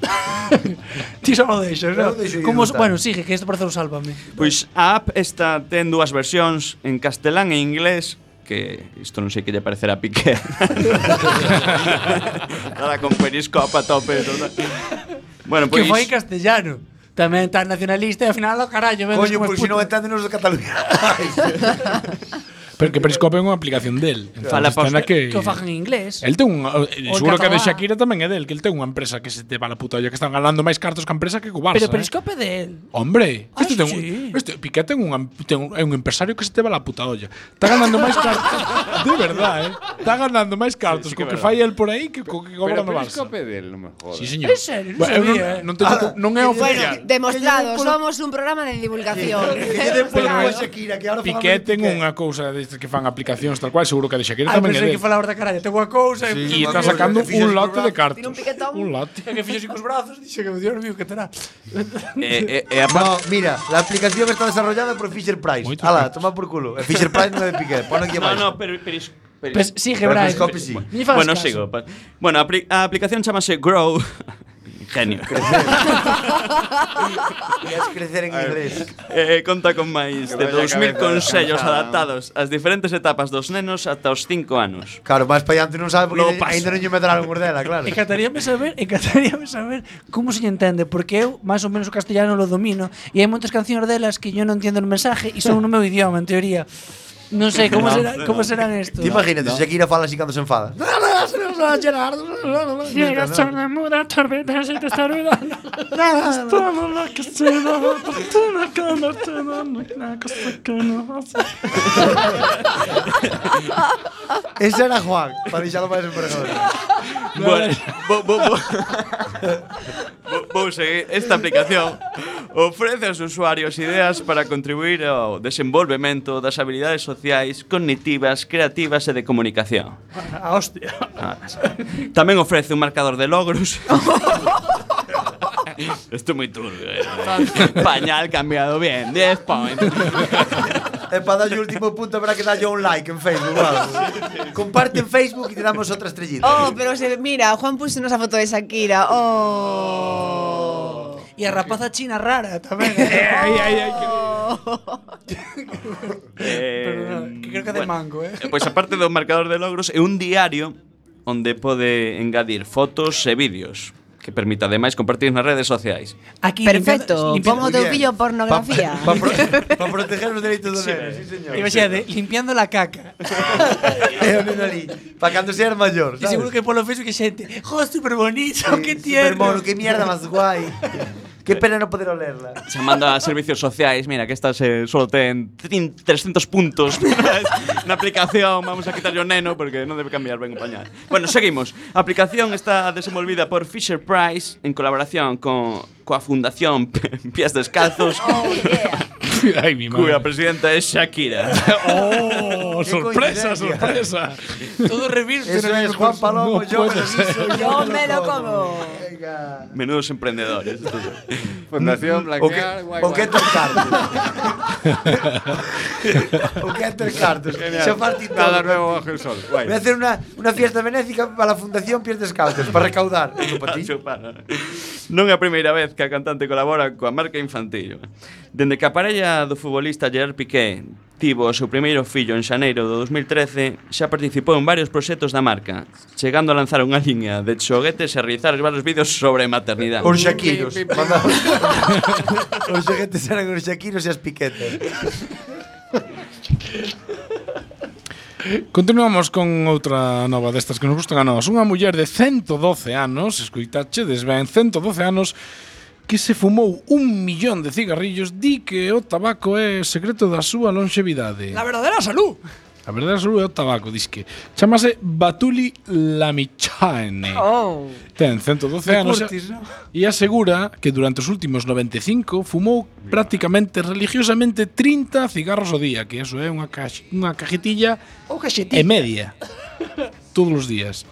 Speaker 4: Ti só lo deixas,
Speaker 8: Claro,
Speaker 4: ¿no?
Speaker 8: deixo
Speaker 4: Como,
Speaker 8: ir,
Speaker 4: bueno,
Speaker 8: tal.
Speaker 4: sigue, que esto parece un sálvame.
Speaker 9: Pois a app esta ten dúas versións en castelán e inglés que isto non sei que lle parecerá a Piqué. Nada con periscope a tope. non? Bueno,
Speaker 4: Que
Speaker 8: Pues-
Speaker 9: pois
Speaker 4: foi en castellano. Tamén tan nacionalista e ao final, oh, carallo, vendes
Speaker 8: Coño,
Speaker 4: como
Speaker 8: pues pois se non
Speaker 4: puto.
Speaker 8: entendenos de Cataluña.
Speaker 3: Pues Pero que Periscope é unha aplicación del.
Speaker 9: Fala pa
Speaker 3: na
Speaker 9: usted.
Speaker 3: que...
Speaker 4: Que o fagan en inglés.
Speaker 3: El ten unha, eh,
Speaker 4: O
Speaker 3: seguro que a de
Speaker 4: catalán.
Speaker 3: Shakira tamén é del, que el ten unha empresa que se te va a la puta olla, que están ganando máis cartos que a empresa que co Barça.
Speaker 4: Pero
Speaker 3: eh.
Speaker 4: periscope de él.
Speaker 3: Hombre,
Speaker 4: Ah,
Speaker 3: este ten,
Speaker 4: sí.
Speaker 3: un, este Piqué ten un, am- ten un, é un empresario que se te va la puta olla. Está ganando máis cartos, de verdad, eh. Está ganando máis cartos
Speaker 5: sí que
Speaker 3: co
Speaker 5: é
Speaker 3: que
Speaker 5: verdad.
Speaker 3: fai el por aí que co que cobra
Speaker 5: Pero
Speaker 3: no Barça.
Speaker 5: Periscope del, non me jodas.
Speaker 3: Sí,
Speaker 4: En
Speaker 3: señor.
Speaker 4: serio, non
Speaker 3: Bueno, eu
Speaker 4: sabía, eh.
Speaker 3: non, non,
Speaker 6: Ah,
Speaker 3: teño co- non é oficial.
Speaker 6: Bueno, demostrado, somos un programa de divulgación.
Speaker 8: Pero
Speaker 6: Claro.
Speaker 8: Shakira, que ahora
Speaker 3: Piqué ten unha cousa destas que fan aplicacións tal cual, seguro que a de Shakira
Speaker 4: Ai,
Speaker 3: tamén é
Speaker 4: pensei Ah, que
Speaker 3: del.
Speaker 4: falabas da carallo. Tengo a cousa
Speaker 8: Sí,
Speaker 3: E
Speaker 4: e...
Speaker 8: no, no,
Speaker 3: está sacando
Speaker 8: que fixo
Speaker 3: un
Speaker 8: así
Speaker 3: lote
Speaker 8: cos
Speaker 3: de
Speaker 8: brazos,
Speaker 3: cartos.
Speaker 6: tira un piquetón.
Speaker 3: Un lote.
Speaker 4: Que fixo así cos brazos, dixe que Dios mío, que terá.
Speaker 9: eh, eh, eh, a
Speaker 8: No, mira, la aplicación está desarrollada por Fisher Price.
Speaker 3: Moito
Speaker 8: Ala, toma por culo. E Fisher Price non é de Piqué. Pon
Speaker 9: No,
Speaker 8: aquí máis.
Speaker 9: no, pero, pero, es- pero-
Speaker 4: Pues sigue,
Speaker 8: Pero
Speaker 4: Brian.
Speaker 8: periscope sí.
Speaker 4: Ni fagas
Speaker 9: bueno,
Speaker 4: caso.
Speaker 9: sigo. pa- Bueno, a, apli- a aplicación chamase Grow. Genio.
Speaker 8: Querías crecer en inglés.
Speaker 9: eh, conta con máis de
Speaker 5: Que vaya
Speaker 9: 2000
Speaker 5: cabeza
Speaker 9: consellos
Speaker 5: descansada,
Speaker 9: adaptados ás diferentes etapas dos nenos ata os 5 anos.
Speaker 8: Claro, máis para diante non sabe porque
Speaker 9: No
Speaker 8: no
Speaker 9: paso.
Speaker 8: ainda non lle medraron mordela, claro.
Speaker 4: Encantaríame saber, encantaríame saber como se lle entende, porque eu máis ou menos o castellano lo domino e hai moitas cancións delas que yo non entendo o mensaje e son no meu idioma, en teoría. Non sei como será, como serán isto.
Speaker 8: Ti imagínate, se Shakira fala así cando se enfada.
Speaker 10: Ciega, sordomuda, torbeta, si te está olvidando. Todo lo que se da, fortuna, cama, todo, no hay nada cosa que no vas a-
Speaker 8: Ese era Juan, para deixalo máis emperador.
Speaker 9: Bueno, vou, vou, vou, vou, vou seguir. Esta aplicación ofrece aos usuarios ideas para contribuir ao desenvolvemento das habilidades sociais, cognitivas, creativas e de comunicación.
Speaker 4: A hostia.
Speaker 9: Tamén Ah, ofrece un marcador de logros. Esto é moi turbio. eh. Pañal cambiado bien, 10 points.
Speaker 8: E para darlle o último punto habrá que darlle un like en Facebook, claro. Comparte en Facebook e te damos outra estrellita.
Speaker 6: Oh, pero se mira, Juan puso una foto de Shakira. Oh.
Speaker 4: E a rapaza china rara tamén.
Speaker 3: Ai, ai, ai, que-
Speaker 9: Eh,
Speaker 4: Perdona, que creo que é de
Speaker 9: bueno.
Speaker 4: mango, eh.
Speaker 9: E Pois aparte do marcador de logros é un diario onde pode engadir fotos e vídeos que permite ademais compartir nas redes sociais.
Speaker 4: Aquí
Speaker 6: Perfecto.
Speaker 4: limpiando-
Speaker 6: Pongo
Speaker 8: Muy
Speaker 6: teu
Speaker 8: bien.
Speaker 6: fillo pornografía.
Speaker 8: Para pro pa proteger os dereitos do neno, sí, señor.
Speaker 4: limpi- imagínate, limpiando la caca.
Speaker 8: É o neno ali, para cando seas maior,
Speaker 4: E
Speaker 8: sabes?
Speaker 4: seguro que polo Facebook que xente, jo, super bonito, que
Speaker 8: Supermono,
Speaker 4: tierno.
Speaker 8: que mierda máis guai. Que pena non poder olerla.
Speaker 9: Chamando a servicios sociais, mira, que estas eh, solo ten 300 puntos na aplicación, vamos a quitarlle o neno porque non debe cambiar ben o pañal. Bueno, seguimos. A aplicación está desenvolvida por Fisher Price en colaboración con coa Fundación Pies Descalzos,
Speaker 6: Oh, yeah.
Speaker 3: Ai, mi madre.
Speaker 9: cuya presidenta é Shakira.
Speaker 3: Oh, sorpresa, sorpresa.
Speaker 4: Todo revirte.
Speaker 8: Eso es Juan Palomo,
Speaker 3: No
Speaker 8: yo me
Speaker 3: puede
Speaker 8: lo guiso,
Speaker 6: Yo me lo como.
Speaker 8: Venga.
Speaker 9: Menudos emprendedores.
Speaker 5: Fundación
Speaker 8: O que,
Speaker 5: Blanquear, guai,
Speaker 8: o que é
Speaker 5: guai.
Speaker 8: ter cartos. o que é ter cartos.
Speaker 5: Genial.
Speaker 8: Xa partí
Speaker 5: Nada
Speaker 8: todo.
Speaker 5: nuevo bajo el sol. Guai.
Speaker 8: Voy a hacer una, una fiesta benéfica para la Fundación Pies Descalzos, para recaudar. Digo, pa ti.
Speaker 9: Chupala. Non é a primeira vez que a cantante colabora coa marca infantil. Dende que a parella do futbolista Gerard Piqué Tivo o seu primeiro fillo en xaneiro do 2013 xa participou en varios proxectos da marca, chegando a lanzar unha liña de xoguetes e realizar varios vídeos sobre maternidade.
Speaker 8: Urxaquiros. Os xoguetes eran urxaquiros e as piquetas.
Speaker 3: Continuamos con outra nova destas que nos gustan a nós. Unha muller de 112 anos, escoitache, desven, 112 anos, que se fumou un millón de cigarrillos, di que o tabaco é secreto da súa longevidade.
Speaker 11: La verdadera salud.
Speaker 3: A verdade sobre o tabaco, dis que chamase Batuli Lamichane.
Speaker 11: Oh.
Speaker 3: Ten 112
Speaker 11: De
Speaker 3: anos
Speaker 11: Curtis,
Speaker 3: e- e asegura que durante os últimos 95 fumou prácticamente religiosamente 30 cigarros ao día, que eso é unha, cax, unha cajetilla
Speaker 11: O
Speaker 3: e media todos os días.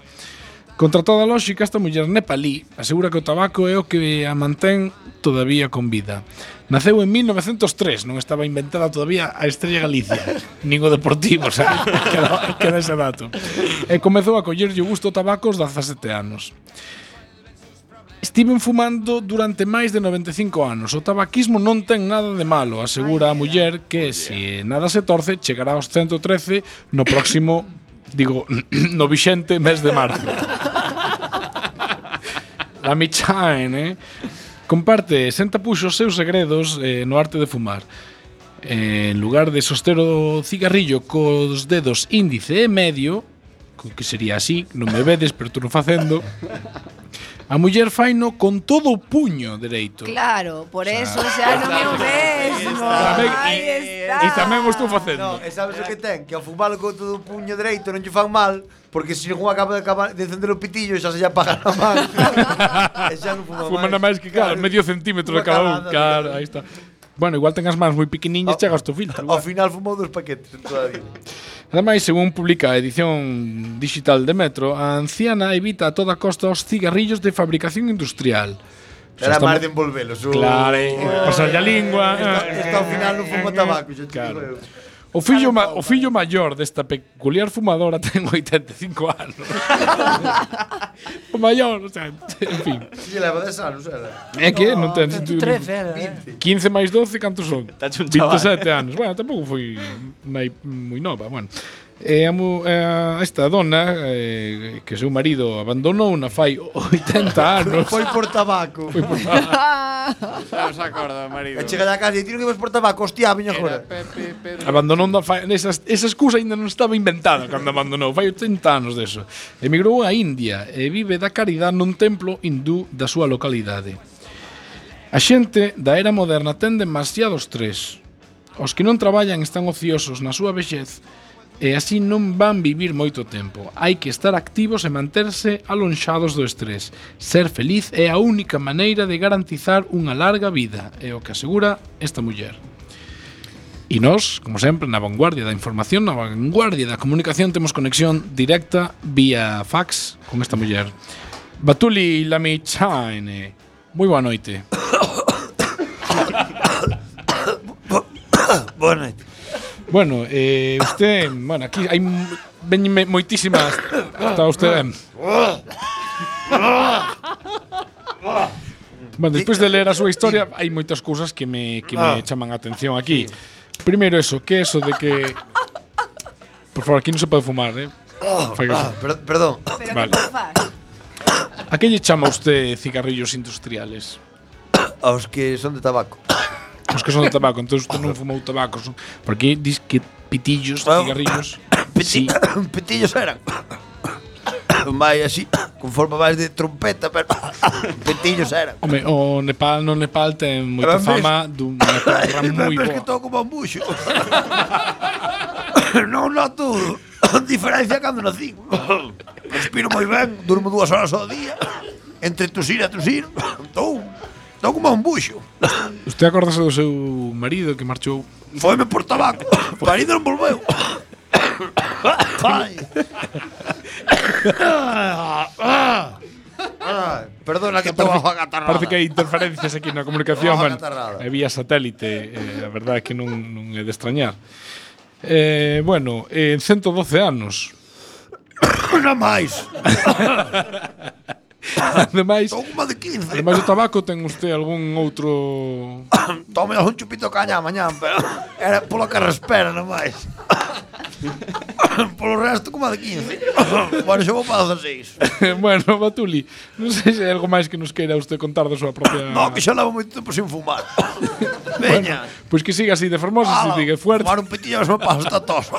Speaker 3: Contra toda a lógica, esta muller nepalí asegura que o tabaco é o que a mantén todavía con vida. Naceu en 1903, non estaba inventada todavía a Estrella Galicia, nin o Deportivo, xa, queda, queda ese dato. E comezou a collerlle o gusto ao tabaco aos 17 anos. Estiven fumando durante máis de 95 anos. O tabaquismo non ten nada de malo, asegura a muller que se nada se torce, chegará aos 113 no próximo, digo, no vixente mes de marzo. La Michain, eh? Comparte sen tapuxos seus segredos eh, no arte de fumar. Eh, en lugar de soster o cigarrillo cos dedos índice e medio, co que sería así, non me vedes, pero tú non facendo, a muller faino con todo o puño dereito.
Speaker 6: Claro, por eso xa non é o mesmo.
Speaker 3: Tamén-
Speaker 6: Aí está.
Speaker 3: E tamén o estou facendo.
Speaker 8: No, e sabes o que ten? Que ao fumalo con todo o puño dereito non lle fan mal, porque se non acaba de, acabar de encender o pitillo xa se lle apaga a man. e xa non fuma
Speaker 3: Fuma na
Speaker 8: máis.
Speaker 3: máis que, claro, medio centímetro
Speaker 8: Unha
Speaker 3: de cada un.
Speaker 8: calada,
Speaker 3: Claro, aí está. Bueno, igual ten as mans moi pequeniñas, chegas tu filtro.
Speaker 8: Ao Ah, final fumou dos paquetes todavía.
Speaker 3: Ademais, según publica a edición digital de Metro, a anciana evita a toda costa os cigarrillos de fabricación industrial.
Speaker 8: Era
Speaker 3: estamos-
Speaker 8: máis de envolvelos. o-
Speaker 3: Claro, eh,
Speaker 8: o-
Speaker 3: pasarlle a lingua.
Speaker 8: Esta, esta ao final non fuma tabaco, xa te digo eu.
Speaker 3: O fillo, ma o fillo maior desta peculiar fumadora ten 85 anos. o maior, o sea, en fin.
Speaker 8: Si lle leva 10 anos, era.
Speaker 3: É que non ten
Speaker 8: 113 era, eh.
Speaker 3: 15 máis 12, cantos son?
Speaker 9: un chaval.
Speaker 3: 27 anos. Bueno, tampouco foi mai, moi nova, bueno. E a, mu- a esta dona eh, que seu marido abandonou na fai 80 anos.
Speaker 8: Foi por tabaco.
Speaker 3: Foi por
Speaker 5: Xa se acorda, marido.
Speaker 8: E chega a casa e tiro que vas por tabaco, hostia, viña agora.
Speaker 3: Abandonou da fai... Esa, esa excusa ainda non estaba inventada cando abandonou. Fai 80 anos deso. Emigrou á India e vive da caridade nun templo hindú da súa localidade. A xente da era moderna ten demasiados tres. Os que non traballan están ociosos na súa vexez e así non van vivir moito tempo. Hai que estar activos e manterse alonxados do estrés. Ser feliz é a única maneira de garantizar unha larga vida, é o que asegura esta muller. E nós, como sempre, na vanguardia da información, na vanguardia da comunicación, temos conexión directa vía fax con esta muller. Batuli Lamichaine. Moi boa noite.
Speaker 8: Boa noite.
Speaker 3: Bueno, eh, usted, bueno, aquí hai m- veñenme moitísimas. Está usted ben. Bueno, despois de ler a súa historia, hai moitas cousas que me que me
Speaker 11: Ah.
Speaker 3: chaman a atención aquí. Primeiro eso, que eso de que Por favor, aquí non se pode fumar, eh.
Speaker 8: Ah,
Speaker 3: Fai caso.
Speaker 8: perdón.
Speaker 3: Vale. A que lle chama usted cigarrillos industriales?
Speaker 8: Aos que son de tabaco.
Speaker 3: Os que son de tabaco, entón usted non fumou tabaco, son- porque dis que pitillos,
Speaker 8: Ah.
Speaker 3: cigarrillos.
Speaker 8: Peti Petillos eran. Vai así, con forma máis de trompeta, pero petillos eran.
Speaker 3: Home, o Nepal no Nepal ten moita
Speaker 8: Ben,
Speaker 3: fama
Speaker 8: ves?
Speaker 3: dunha terra moi
Speaker 8: Pero es que
Speaker 3: boa.
Speaker 8: todo como un buxo. non noto diferencia cando nací. Respiro moi ben, durmo dúas horas ao día. Entre tusir e tusir, estou estou como un buxo.
Speaker 3: Usted acordase do seu marido que marchou?
Speaker 8: Foime por tabaco. Marido non volveu. Ai. Ai, Perdona que estou agatarrado.
Speaker 3: Parece que hai interferencias aquí na comunicación,
Speaker 8: Ojo,
Speaker 3: bueno,
Speaker 8: catarrada.
Speaker 3: é vía satélite, eh, a verdade é que non, non é de extrañar. Eh, bueno, en eh, 112 anos.
Speaker 8: Unha máis.
Speaker 3: ademais,
Speaker 8: Toma de 15.
Speaker 3: ademais o tabaco ten usted algún outro
Speaker 8: Tome un chupito caña mañá, pero era polo que respera, non máis. polo resto, como a de 15. bueno, xa vou para 16.
Speaker 3: bueno, Batuli, non sei se hai algo máis que nos queira usted contar da súa propia...
Speaker 8: No, que xa levo moito tempo sin fumar. Veña.
Speaker 3: Pois Pues que siga así de formoso,
Speaker 8: ala,
Speaker 3: se sigue fuerte.
Speaker 8: Fumar un pitillo se me pasa esta tos.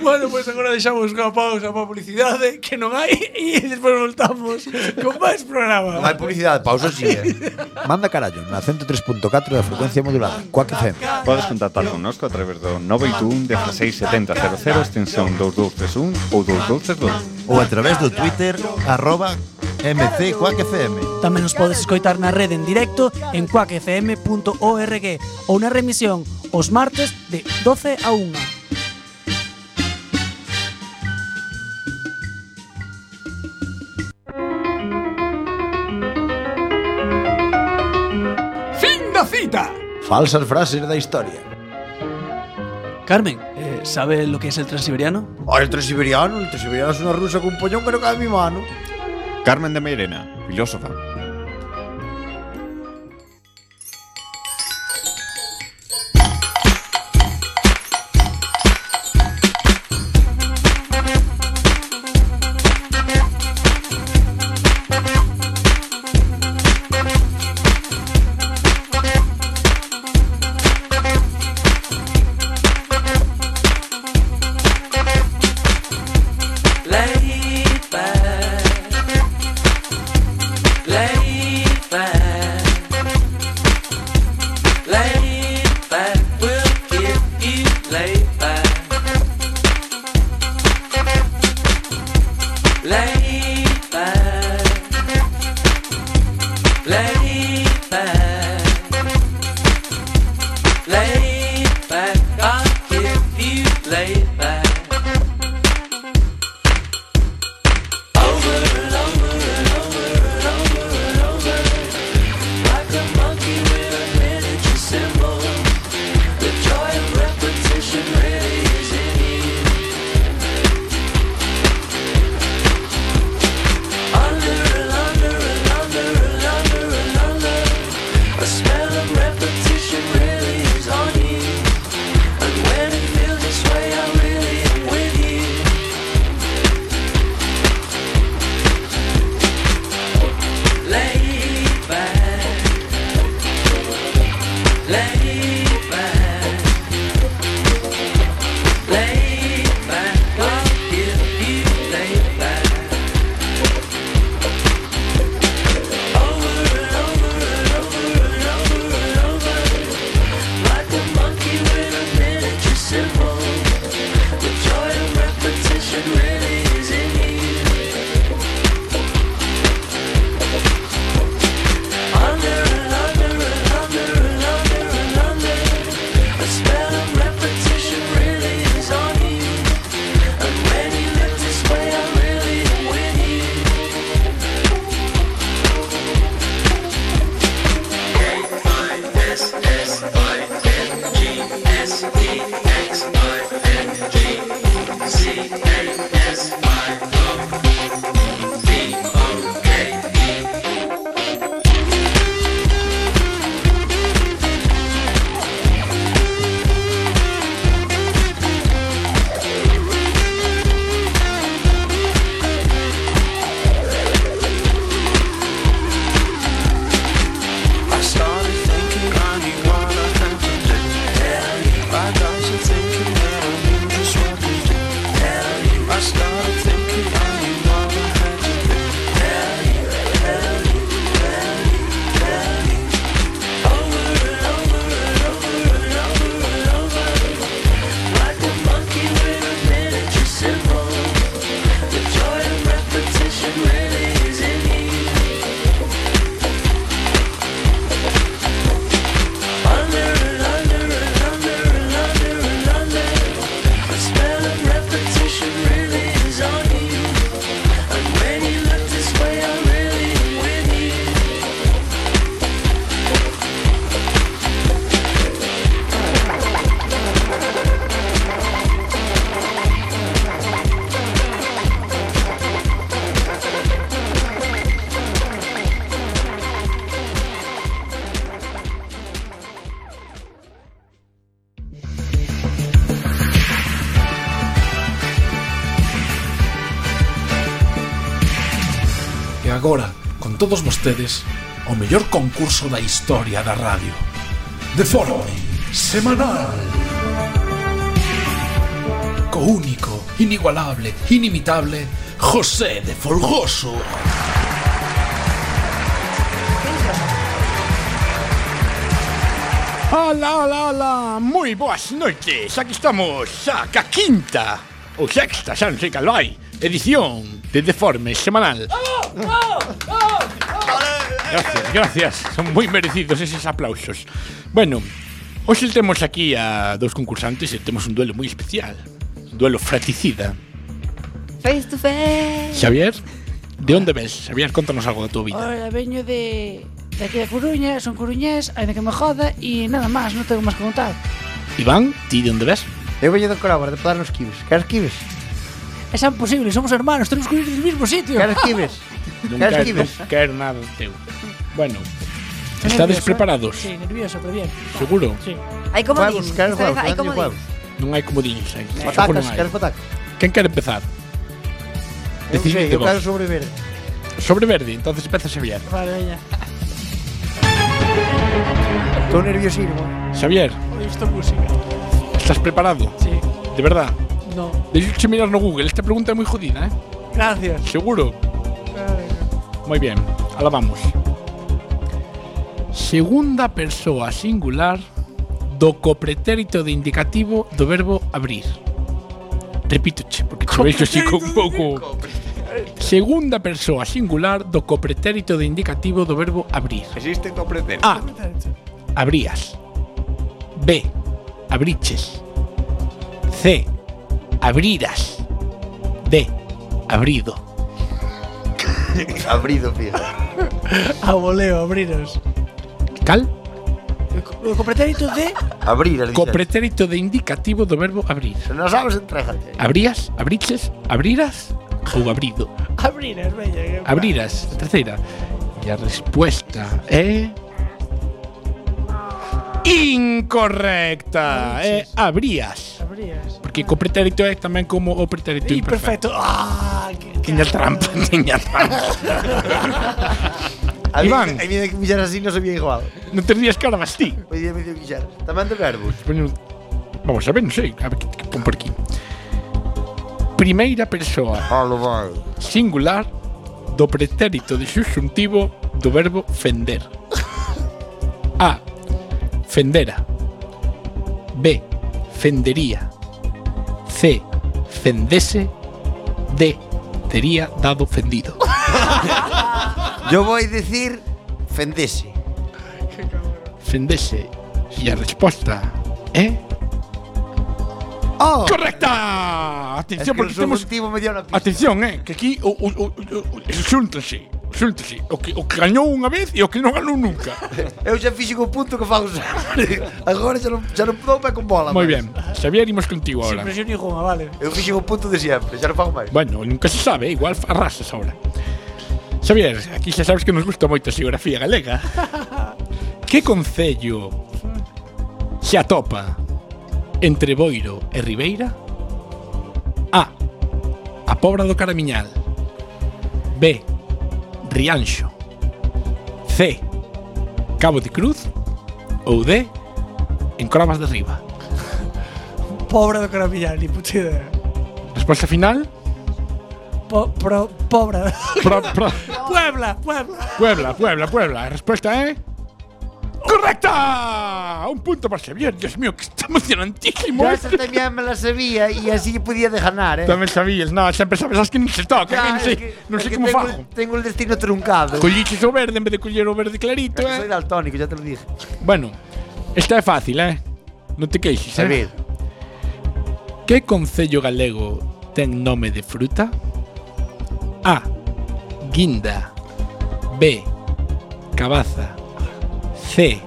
Speaker 4: bueno, pois agora deixamos unha pausa para publicidade que non hai e despois voltamos con máis programa.
Speaker 12: Hay publicidad, pausa sigue.
Speaker 8: eh. Manda carallo na 103.4 da frecuencia modulada. Coac FM.
Speaker 5: Podes contactar connosco a través do 921 16 70 00 extensión 2231 ou 2232.
Speaker 13: Ou a través do Twitter arroba MC Quack FM.
Speaker 4: Tamén nos podes escoitar na rede en directo en cuacfm.org ou na remisión os martes de 12 a 1.
Speaker 8: Falsas frases da historia.
Speaker 4: Carmen, eh, ¿sabe lo que es el transiberiano?
Speaker 8: Oh, el transiberiano, el transiberiano es una rusa con un pollón que no cabe en mi mano.
Speaker 5: Carmen de Mairena, filósofa.
Speaker 10: Under and under and under and under and agora con todos vostedes o mellor concurso da historia da radio. De forma semanal. Co único, inigualable, inimitable, José de Folgoso.
Speaker 3: Hola, hola, hola. Muy buenas noches. Aquí estamos, saca quinta o sexta, ya no sé cuál hay, edición de Deforme semanal. Gracias, gracias. Son muy merecidos esos aplausos. Bueno, hoy tenemos aquí a dos concursantes y tenemos un duelo muy especial. Un duelo fratricida.
Speaker 6: Face to face.
Speaker 3: Xavier, ¿de dónde ves? Xavier, contanos algo de tu vida.
Speaker 6: Ora, veño de, de aquí de Coruña, son coruñés, ainda que me joda, e nada máis, non tengo máis que contar.
Speaker 3: Iván, ¿ti de dónde ves?
Speaker 8: Eu veño do Corábar, de podar nos kibes. Caras kibes?
Speaker 4: É xa imposible, somos hermanos, tenemos que ir del mismo sitio.
Speaker 8: Caras kibes?
Speaker 3: Non quero, non quero nada teu. Bueno,
Speaker 8: ¿eh?
Speaker 3: estades preparados?
Speaker 4: Sí, nervioso, pero bien.
Speaker 3: Seguro?
Speaker 4: Sí.
Speaker 14: Hai comodín. Esta vez hai comodín.
Speaker 3: Non hai comodín, hai.
Speaker 8: Patacas,
Speaker 3: Só non hai.
Speaker 8: queres patacas?
Speaker 3: Quen quer empezar? Decidide
Speaker 8: Eu
Speaker 3: vos.
Speaker 8: quero sobre verde.
Speaker 3: Sobre verde, entonces empeza Xavier.
Speaker 4: Vale, veña.
Speaker 8: Estou nerviosísimo.
Speaker 3: Xavier,
Speaker 4: Isto música.
Speaker 3: estás preparado?
Speaker 4: Sí.
Speaker 3: De verdad.
Speaker 4: No.
Speaker 3: Deixe mirar no Google, esta pregunta é moi jodida, eh?
Speaker 4: Gracias.
Speaker 3: Seguro. Moi bien, ala vamos. Segunda persoa singular do copretérito de indicativo do verbo abrir. Repito, che, porque te veixo así con un pouco. Segunda persoa singular do copretérito de indicativo do verbo abrir. Ah,
Speaker 15: Existe copretérito.
Speaker 4: Ah,
Speaker 3: A. Abrías. B. Abriches. C. Abriras. D. Abrido.
Speaker 8: Abrido, fío.
Speaker 4: A voleo, abriros.
Speaker 3: Cal?
Speaker 4: O copretérito de...
Speaker 8: Abrir, as
Speaker 3: Copretérito de indicativo do verbo abrir.
Speaker 8: Se non sabes, entrégate.
Speaker 3: Abrías, abriches, abriras ou abrido.
Speaker 4: Abriros, veña.
Speaker 3: Abriras, a terceira. E a respuesta é... Incorrecta! É abrías.
Speaker 4: Abrías.
Speaker 3: Porque copretérito é tamén como o pretérito
Speaker 4: Y perfecto.
Speaker 3: imperfecto.
Speaker 4: Ah, que-
Speaker 3: Tiña trampa, tiña trampa.
Speaker 8: A mí,
Speaker 3: Iván.
Speaker 8: a mí de quillar así non sabía igual.
Speaker 3: non tenías cara vas ti.
Speaker 8: Hoy día me dio quillar. Tamén do verbos.
Speaker 3: Bueno, Vamos a ver, non sei. ah, A ver, que, que pon por aquí. Primeira persoa
Speaker 8: Halo, vai.
Speaker 3: singular do pretérito de subxuntivo do verbo fender. A. Fendera. B. Fendería. C. Fendese. D. Tería dado fendido.
Speaker 8: Yo voy a decir fendese.
Speaker 3: Fendese. E a resposta é...
Speaker 8: Oh!
Speaker 3: Correcta!
Speaker 8: Es
Speaker 3: Atención,
Speaker 8: que
Speaker 3: porque temos...
Speaker 8: subjuntivo me dio una pista.
Speaker 3: Atención, eh, que aquí o, o, o, o, o- xúntase, xúntase. O que, o que gañou unha vez e o que non gañou nunca.
Speaker 8: Eu xa fixen o punto que fago sempre. Agora xa non, xa non dou pé con bola.
Speaker 3: Moi
Speaker 8: máis.
Speaker 3: ben, Xavier, imos contigo
Speaker 4: Sin
Speaker 3: ahora.
Speaker 4: presión ninguna, vale.
Speaker 8: Eu fixen o punto de sempre, xa non fago máis.
Speaker 3: Bueno, nunca se sabe, igual arrasas ahora. Xavier, aquí xa sabes que nos gusta moito a xeografía galega. que concello se atopa entre Boiro e Ribeira? A. A Pobra do Caramiñal. B. Rianxo. C. Cabo de Cruz. Ou D. En Cravas de Riba.
Speaker 4: Pobre do Caramillán, ni puta idea.
Speaker 3: Resposta final?
Speaker 4: Po, pro, pobre.
Speaker 3: Pro, pro.
Speaker 4: Puebla, Puebla.
Speaker 3: Puebla, Puebla, Puebla. Respuesta, ¿eh? ¡Correcta! Un punto para Xavier. Dios mío, que está emocionantísimo.
Speaker 8: Yo esa tamén me la sabía e así podía de ganar, eh.
Speaker 3: También sabías, no, siempre sabes, sabes que no se toca,
Speaker 8: Ya,
Speaker 3: no
Speaker 8: es
Speaker 3: sé,
Speaker 8: que-
Speaker 3: no
Speaker 8: es
Speaker 3: sé
Speaker 8: que
Speaker 3: cómo
Speaker 8: tengo,
Speaker 3: fajo.
Speaker 8: tengo el destino truncado.
Speaker 3: Colliches o verde en vez de collero o verde clarito,
Speaker 8: Soy
Speaker 3: eh.
Speaker 8: daltónico, ya te lo dije.
Speaker 3: Bueno, esta es fácil, eh. No te queixes, eh.
Speaker 8: Xavier.
Speaker 3: Que concello galego ten nome de fruta? A. Guinda B. Cabaza C.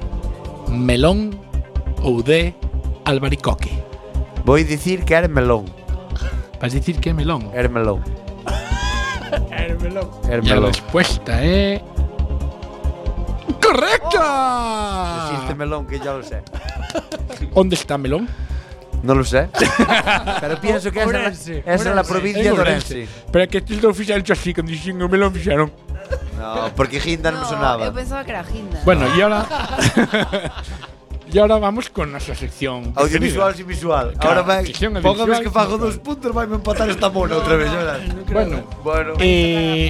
Speaker 3: Melón ou D. Albaricoque
Speaker 8: Voy a decir que eres melón.
Speaker 3: Vas dicir que é melón?
Speaker 8: Eres melón.
Speaker 4: Hermelón.
Speaker 8: Eres
Speaker 3: E a
Speaker 8: melón.
Speaker 3: resposta é...
Speaker 8: Existe
Speaker 3: Correcta!
Speaker 8: melón, que ya lo sé.
Speaker 3: Onde está melón?
Speaker 8: No lo sé. Pero pienso que es en la,
Speaker 4: Ourense,
Speaker 8: es en la
Speaker 4: Ourense.
Speaker 8: provincia de Orense.
Speaker 3: este Pero é que estes non fixeron así, cando dixen o melón fixeron.
Speaker 8: No, porque Ginda non
Speaker 6: No,
Speaker 8: sonaba.
Speaker 6: Eu pensaba que era Ginda.
Speaker 3: Bueno, y ahora. y ahora vamos con nuestra sección.
Speaker 8: Audiovisual
Speaker 3: preferida.
Speaker 8: sin visual.
Speaker 3: Claro,
Speaker 8: Ahora vai,
Speaker 3: sección
Speaker 8: poca vez
Speaker 3: audiovisual
Speaker 8: que
Speaker 3: sin
Speaker 8: fago dos puntos vai me empatar esta mona outra vez, verás.
Speaker 3: Bueno,
Speaker 8: bueno.
Speaker 3: Eh,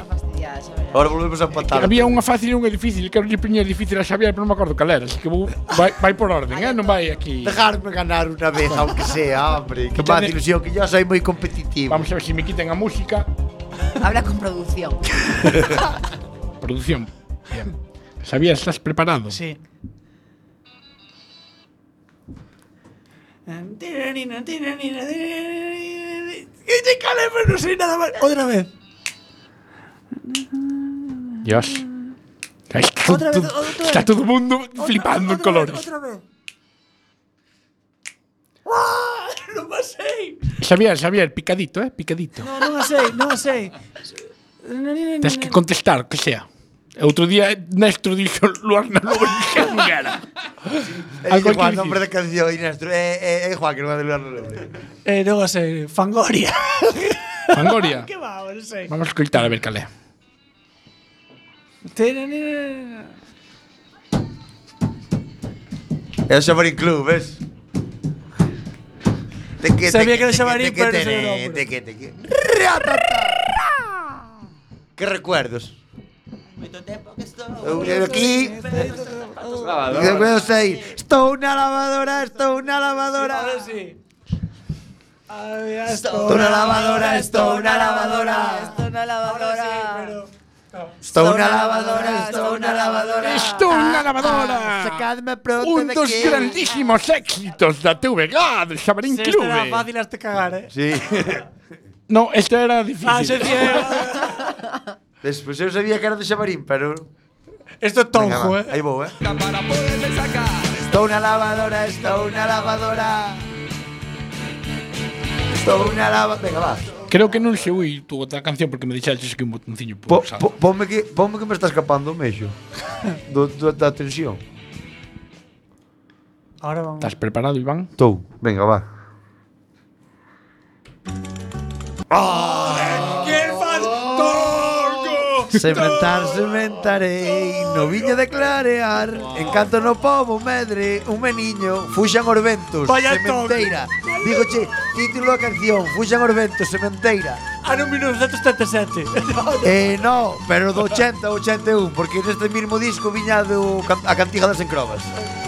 Speaker 8: Ahora volvemos a empatar.
Speaker 3: había unha fácil e unha difícil. Quero lle poñer difícil a Xavier, pero non me acordo cal era. Así que vou, vai, vai por orden, eh? non vai aquí.
Speaker 8: Dejarme ganar unha vez, aunque sea, hombre. Que má ilusión, que yo soy moi competitivo.
Speaker 3: Vamos a ver se me quiten a música.
Speaker 6: Habla con producción.
Speaker 3: Producción. Bien. Xavier, estás preparado?
Speaker 4: Sí. Pero no soy nada más. Otra vez.
Speaker 3: Dios. Ay, Está,
Speaker 4: Otra vez,
Speaker 3: todo-
Speaker 4: otra vez.
Speaker 3: está todo o mundo flipando en colores.
Speaker 4: Otra vez. ¡Ah! Non a sei.
Speaker 3: Xavier, Xavier, picadito, eh? Picadito.
Speaker 4: No, non a sei, non a sei.
Speaker 3: Tens que contestar, que sea. Outro día Néstor dixo Luarna Lobo Xangara.
Speaker 8: Eh, dice
Speaker 3: Algo hai que
Speaker 8: Juan,
Speaker 3: dicir.
Speaker 8: nombre da canción, Inastro. Eh, eh, eh, Juan, que non vai celular no nombre.
Speaker 4: Eh, non a sei, Fangoria.
Speaker 3: Fangoria.
Speaker 4: que va, non sei.
Speaker 3: Vamos a escoitar a ver cal é.
Speaker 8: É o Xamarín Club, ves? Teque,
Speaker 4: Sabía
Speaker 8: teque,
Speaker 4: que era
Speaker 8: teque,
Speaker 4: Xamarín,
Speaker 8: teque,
Speaker 4: pero no sabía el
Speaker 8: teque,
Speaker 4: nombre.
Speaker 8: teque, teque. Que recuerdos? Eu eu aquí, eu veo sei. Estou na lavadora, estou na lavadora.
Speaker 4: Ahora sí.
Speaker 8: Estou na lavadora, estou na lavadora.
Speaker 6: Estou na lavadora.
Speaker 8: Estou na lavadora, estou na lavadora.
Speaker 3: Estou na lavadora.
Speaker 8: Sacadme pronto
Speaker 3: Un
Speaker 8: daqui.
Speaker 3: dos grandísimos éxitos da TVG, do Xamarín
Speaker 4: Se esta
Speaker 3: Clube.
Speaker 4: era fácil hasta cagar, eh.
Speaker 8: Sí.
Speaker 3: No, este era difícil.
Speaker 4: Ah, se cierra.
Speaker 8: Despois eu sabía que era de Xamarín, pero...
Speaker 4: Esto é tonjo, eh.
Speaker 8: Aí vou, eh. Estou na lavadora, estou na lavadora. Estou na lavadora. Venga, va.
Speaker 3: Creo que non se ui tu outra canción porque me dixaches que un botonciño
Speaker 8: Po,
Speaker 3: pulsado.
Speaker 8: po, ponme, que, ponme que me está escapando o mexo do, do, da tensión.
Speaker 4: Ahora vamos.
Speaker 3: Estás preparado, Iván?
Speaker 8: Estou. Venga, va.
Speaker 4: ¡Qué fantasma!
Speaker 8: Sementar, sementarei No viño de clarear Encanto no povo medre Un meniño Fuxan os ventos
Speaker 4: Vaya
Speaker 8: Sementeira Dígoche Título da canción Fuxan os ventos Sementeira
Speaker 4: Ano 1977.
Speaker 8: Eh, no, pero do 80 ao 81 Porque neste mismo disco viña do, can- A cantiga das encrobas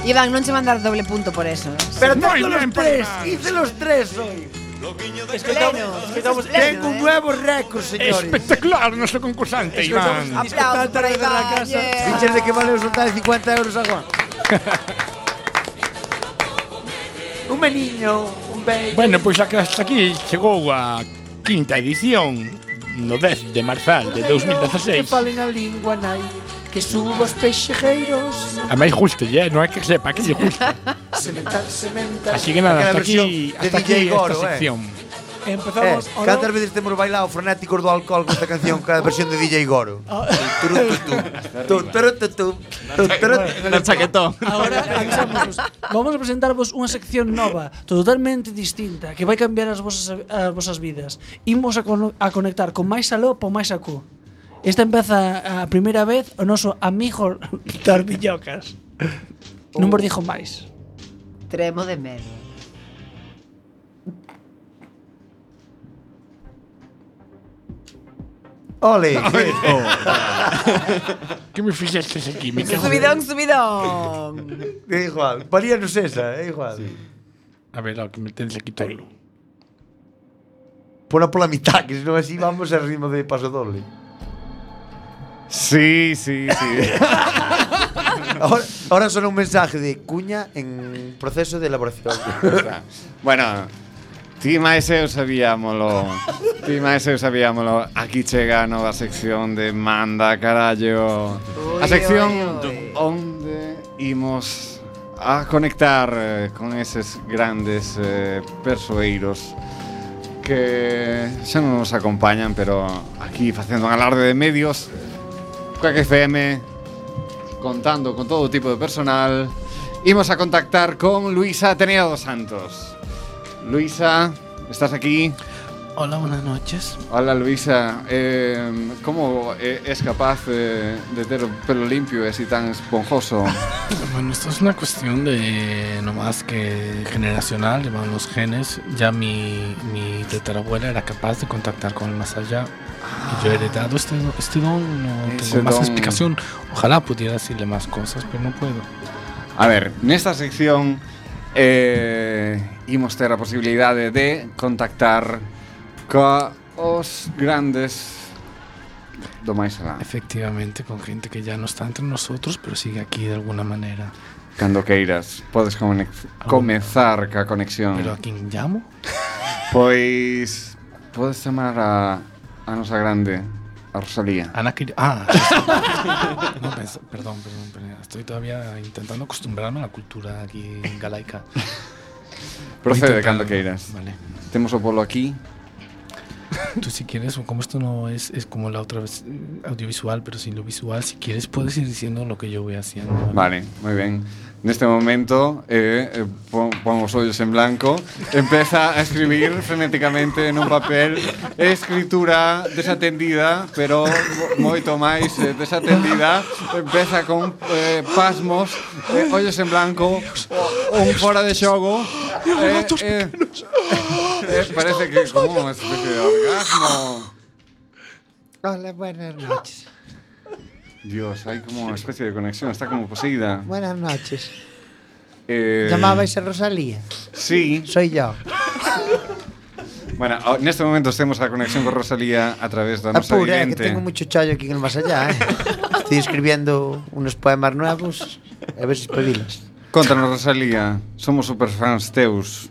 Speaker 6: Iván, non che van dar doble punto por eso.
Speaker 8: Pero
Speaker 3: Muy
Speaker 8: tengo los
Speaker 3: bien,
Speaker 8: tres
Speaker 3: Parimán.
Speaker 8: Hice los tres hoy
Speaker 4: Es que estamos, es que estamos
Speaker 8: Tengo un nuevo récord, señores
Speaker 3: Espectacular, nuestro concursante, Iván.
Speaker 4: es que
Speaker 6: para
Speaker 4: estamos de la
Speaker 6: Iván,
Speaker 4: casa.
Speaker 6: yeah.
Speaker 8: Fiches de que vale os 50 euros a Juan Un meniño Un bello
Speaker 3: Bueno, pois a que hasta aquí chegou a quinta edición no 10 de marzal de
Speaker 16: Que
Speaker 3: 2016.
Speaker 16: falen a lingua nai Que subo os peixeiros
Speaker 3: A máis justo, eh? non é que sepa, que lle justo.
Speaker 16: Sementar, sementar
Speaker 3: Así que nada,
Speaker 8: Aquela
Speaker 3: hasta aquí,
Speaker 8: versión de
Speaker 3: hasta aquí
Speaker 8: DJ Goro,
Speaker 3: esta
Speaker 8: eh.
Speaker 3: sección.
Speaker 8: Eh,
Speaker 4: Empezamos. ¿o no?
Speaker 8: cantas veces temos bailado frenéticos do alcohol con esta canción cada versión de DJ Goro.
Speaker 17: No chaquetón.
Speaker 4: Ahora avisámonos. Vamos a presentarvos unha sección nova, totalmente distinta, que vai cambiar as vosas as vosas vidas. Imos a, cono- a conectar con máis aló po máis acú. Esta empeza a primeira vez o noso amigo Tarbillocas. Non vos dixo máis.
Speaker 6: Tremo de medo.
Speaker 8: Ole.
Speaker 3: Que me este fixestes aquí, me cago en-
Speaker 6: Subidón, subidón.
Speaker 8: É igual, valíanos esa, é igual.
Speaker 3: A ver, ao que me tens aquí todo.
Speaker 8: Pona pola mitad, que senón así vamos a ritmo de paso doble.
Speaker 5: Sí, sí, sí.
Speaker 8: Ahora, ahora sona un mensaje de cuña en proceso de elaboración.
Speaker 5: bueno, ti máis eu sabíamolo. Ti máis eu sabíamolo. Aquí chega a nova sección de Manda Carallo. A
Speaker 6: Oi,
Speaker 5: sección
Speaker 6: oi, oi.
Speaker 5: onde imos a conectar eh, con eses grandes eh, persoeiros que xa non nos acompañan, pero aquí facendo un alarde de medios, Quack FM, contando con todo tipo de personal, imos a contactar con Luisa Atenea dos Santos. Luisa, estás aquí?
Speaker 18: Hola, buenas noches.
Speaker 5: Hola Luisa, eh, ¿cómo eh, es capaz eh, de tener un pelo limpio y así tan esponjoso?
Speaker 11: Bueno, esto es una cuestión de no más que generacional, llevan los genes. Ya mi, mi tatarabuela era capaz de contactar con el más allá. Y yo he heredado este, este don, no tengo
Speaker 5: Ese
Speaker 11: más
Speaker 5: don.
Speaker 11: explicación. Ojalá pudiera decirle más cosas, pero no puedo.
Speaker 5: A ver, nesta sección eh, imos ter a posibilidade de contactar ca os grandes do máis alá.
Speaker 11: Efectivamente, con gente que ya no está entre nosotros, pero sigue aquí de alguna manera.
Speaker 5: Cando queiras, podes conex- comezar ca conexión.
Speaker 11: ¿Pero a quién llamo?
Speaker 5: Pois podes chamar a, a nosa grande, a Rosalía.
Speaker 11: Ana Quir- Ah, no, pens- perdón, perdón, perdón. Estoy todavía intentando acostumbrarme a la cultura aquí galaica.
Speaker 5: Procede
Speaker 11: Intentando.
Speaker 5: cando queiras.
Speaker 11: Vale.
Speaker 5: Temos o polo aquí.
Speaker 11: Tú si quieres, o como esto no es, es como la otra vez eh, audiovisual, pero sin lo visual, si quieres puedes ir diciendo lo que yo voy haciendo. ¿vale?
Speaker 5: Vale, moi ben. Neste momento, eh, eh, pon, pon os ollos en blanco, empeza a escribir frenéticamente nun papel escritura desatendida, pero mo- moito máis eh, desatendida, empeza con eh, pasmos, eh, ollos en blanco, o- un fora de xogo, eh, eh, eh, parece que como unha especie de orgasmo.
Speaker 7: Hola, buenas noches.
Speaker 5: Dios, hai como unha especie de conexión, está como poseída.
Speaker 7: Buenas noches.
Speaker 5: Eh,
Speaker 7: ¿Llamabais a Rosalía?
Speaker 5: Sí.
Speaker 7: Soy yo.
Speaker 5: Bueno, o- neste momento temos a conexión con Rosalía a través da nosa
Speaker 8: Apura, Ah, que
Speaker 5: vidente.
Speaker 8: tengo mucho chollo aquí en el más allá. eh. Estoy escribiendo unos poemas nuevos. A ver si espabilas.
Speaker 5: Contanos, Rosalía, somos superfans teus.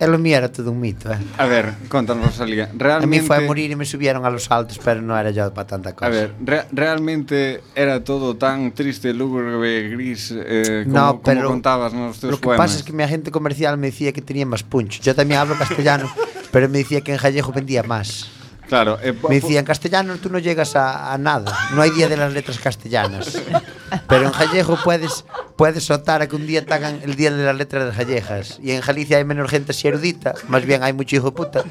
Speaker 8: E lo mío era todo un mito. Eh.
Speaker 5: A ver, contanos, Rosalía,
Speaker 8: A
Speaker 5: realmente...
Speaker 8: mí fue a morir y me subieron a los altos, pero no era yo para tanta cosa.
Speaker 5: A ver, eh, re- realmente era todo tan triste, lúgubre, gris, eh, como,
Speaker 8: no,
Speaker 5: como
Speaker 8: pero
Speaker 5: contabas nos teus
Speaker 8: lo que
Speaker 5: poemas.
Speaker 8: pasa es que mi agente comercial me decía que tenía más punch. Yo también hablo castellano, pero me decía que en Jallejo vendía más.
Speaker 5: Claro, eh, po-
Speaker 8: Me decía, en castellano tú no llegas a, a nada. No hay día de las letras castellanas. Pero en Jallejo puedes, puedes optar a que un día te hagan el día de las letras gallejas. Y en Galicia hay menos gente así erudita, más bien hay mucho hijo de puta.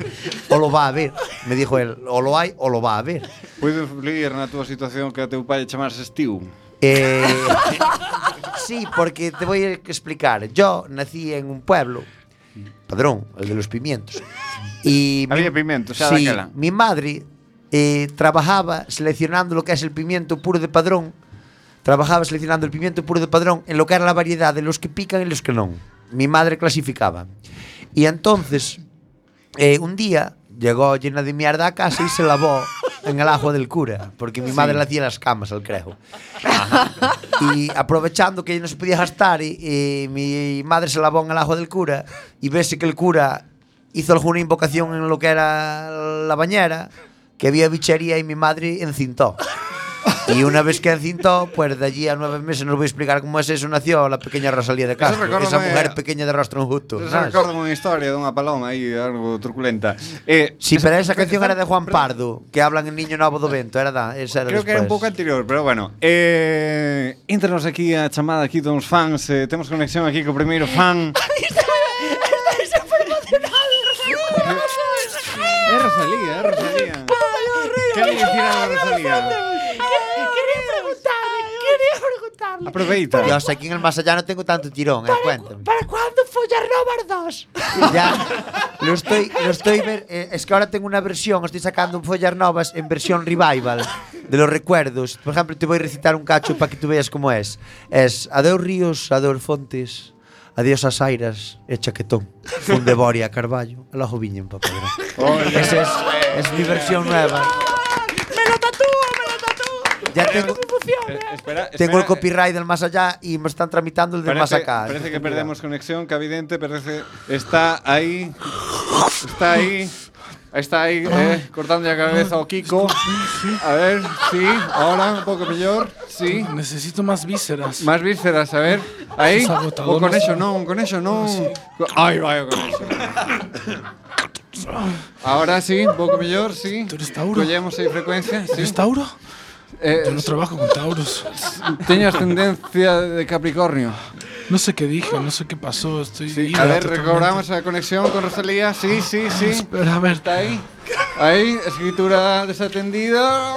Speaker 8: O lo va a haber, me dijo él. O lo hay o lo va a haber.
Speaker 5: Puido influir na túa situación que a teu pai chamarse Steve?
Speaker 8: Eh, sí, porque te voy a explicar. Yo nací en un pueblo, Padrón, el de los pimientos. Y
Speaker 5: Había pimientos, xa
Speaker 8: sí,
Speaker 5: daquela.
Speaker 8: mi madre eh, trabajaba seleccionando lo que es el pimiento puro de Padrón. Trabajaba seleccionando el pimiento puro de Padrón en lo que era la variedad de los que pican y los que no. Mi madre clasificaba. Y entonces, eh, un día llegó llena de mierda a casa y se lavó en el ajo del cura, porque mi madre
Speaker 2: Sí.
Speaker 8: le hacía las camas al crejo. Y aprovechando que no se podía gastar, y, y mi madre se lavó en el ajo del cura y vese que el cura hizo alguna invocación en lo que era la bañera, que había bichería y mi madre encintó. Y una vez que encintó, pues de allí a nueve meses, no os voy a explicar cómo es eso, nació la pequeña Rosalía de Castro,
Speaker 5: recuérdame-
Speaker 8: esa mujer pequeña de rostro enjuto.
Speaker 5: Yo
Speaker 8: ¿sabes?
Speaker 5: recordo unha historia dunha paloma aí, algo truculenta. Eh,
Speaker 8: Sí, pero esa canción era de Juan Pardo, que hablan el niño novo do vento, era da, esa era
Speaker 5: Creo que era un
Speaker 8: despois.
Speaker 5: pouco anterior, pero bueno. Eh, entranos aquí a chamada aquí dos fans, eh, temos conexión aquí co primeiro fan. É Rosalía, é Rosalía. Que le dicira a Rosalía?
Speaker 7: Quería preguntarle, quería preguntarle.
Speaker 5: Aproveita.
Speaker 8: Dios, aquí en el más allá no tengo tanto tirón, eh, cuéntame.
Speaker 7: ¿Para cuándo follar Robert 2?
Speaker 8: Ya, lo estoy, lo estoy ver, eh, es que ahora tengo una versión, estoy sacando un follar novas en versión revival de los recuerdos. Por ejemplo, te voy a recitar un cacho para que tú veas cómo es. Es adeus ríos, adeus fontes, adiós as airas e chaquetón. Fundeboria, Carballo, a la joviña en papel. Esa es, es mi versión nueva. Ya tengo,
Speaker 5: Eh, espera,
Speaker 8: tengo el copyright del más allá y me están tramitando el del más
Speaker 5: Parece,
Speaker 8: acá.
Speaker 5: parece que perdemos conexión, que evidente parece está ahí. Está ahí. Está ahí eh, cortando la cabeza o Kiko. A ver, sí, ahora un poco peor. Sí.
Speaker 11: Necesito más vísceras.
Speaker 5: Más vísceras, a ver. Ahí.
Speaker 11: Es agotador,
Speaker 5: O con
Speaker 11: no
Speaker 5: eso
Speaker 11: sé.
Speaker 5: no, con eso
Speaker 11: Ah,
Speaker 5: no. Ay, vaya con eso. Ahora sí, un poco mejor, sí. ¿Tú eres Tauro? ahí frecuencia, sí.
Speaker 11: ¿Eres Tauro?
Speaker 5: Eh,
Speaker 11: Yo no trabajo con Tauros.
Speaker 5: Teño ascendencia de Capricornio.
Speaker 3: No sé qué dije, no sé qué pasó. Estoy
Speaker 5: A ver, recobramos la conexión con Rosalía. Sí, sí, sí.
Speaker 3: Espera, a ver.
Speaker 5: Está ahí. Ahí, escritura desatendida.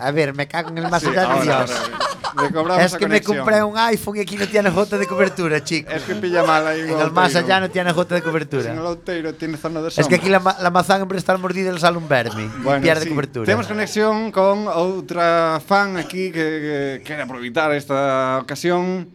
Speaker 8: A ver, me cago en el más
Speaker 5: Sí,
Speaker 8: grande
Speaker 5: ahora,
Speaker 8: Dios.
Speaker 5: ahora. Recobramos
Speaker 8: Es
Speaker 5: la
Speaker 8: que me
Speaker 5: conexión.
Speaker 8: compré un iPhone y aquí no tiene J de cobertura, chico.
Speaker 5: Es que pilla mal ahí.
Speaker 8: En el más allá no tiene J de cobertura.
Speaker 5: Señor Outeiro, tiene zona de sombra.
Speaker 8: Es que aquí la, ma- la mazán en vez de estar mordida le sale un verme. y pierde
Speaker 5: sí.
Speaker 8: cobertura.
Speaker 5: Temos conexión con outra fan aquí que, que quere aproveitar esta ocasión.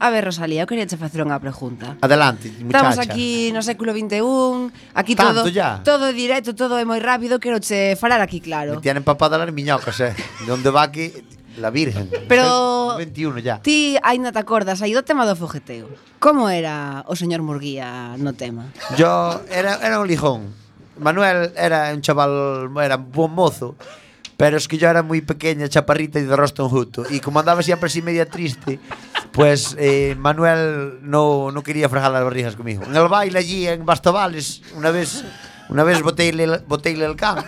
Speaker 6: A ver, Rosalía, eu quería che facer unha pregunta.
Speaker 8: Adelante,
Speaker 6: Estamos aquí no século 21, aquí
Speaker 8: Tanto
Speaker 6: todo
Speaker 8: ya.
Speaker 6: todo é directo, todo é moi rápido, quero che falar aquí
Speaker 8: Me
Speaker 6: claro.
Speaker 8: tienen empapada las miñocas, eh. De donde va aquí la Virgen.
Speaker 6: Pero-
Speaker 8: Soy 21 ya.
Speaker 6: Ti aínda te acordas aí do tema do fogueteo. Como era o señor Murguía no tema?
Speaker 8: Yo era, era un lijón. Manuel era un chaval, era un buen mozo. Pero es que yo era muy pequeña, chaparrita y de rostro enjuto. Y como andaba siempre así media triste, pues eh, Manuel no, no quería fregar las barrigas conmigo. En el baile allí, en Bastabales, una vez, una vez boteile, el- boteile el can.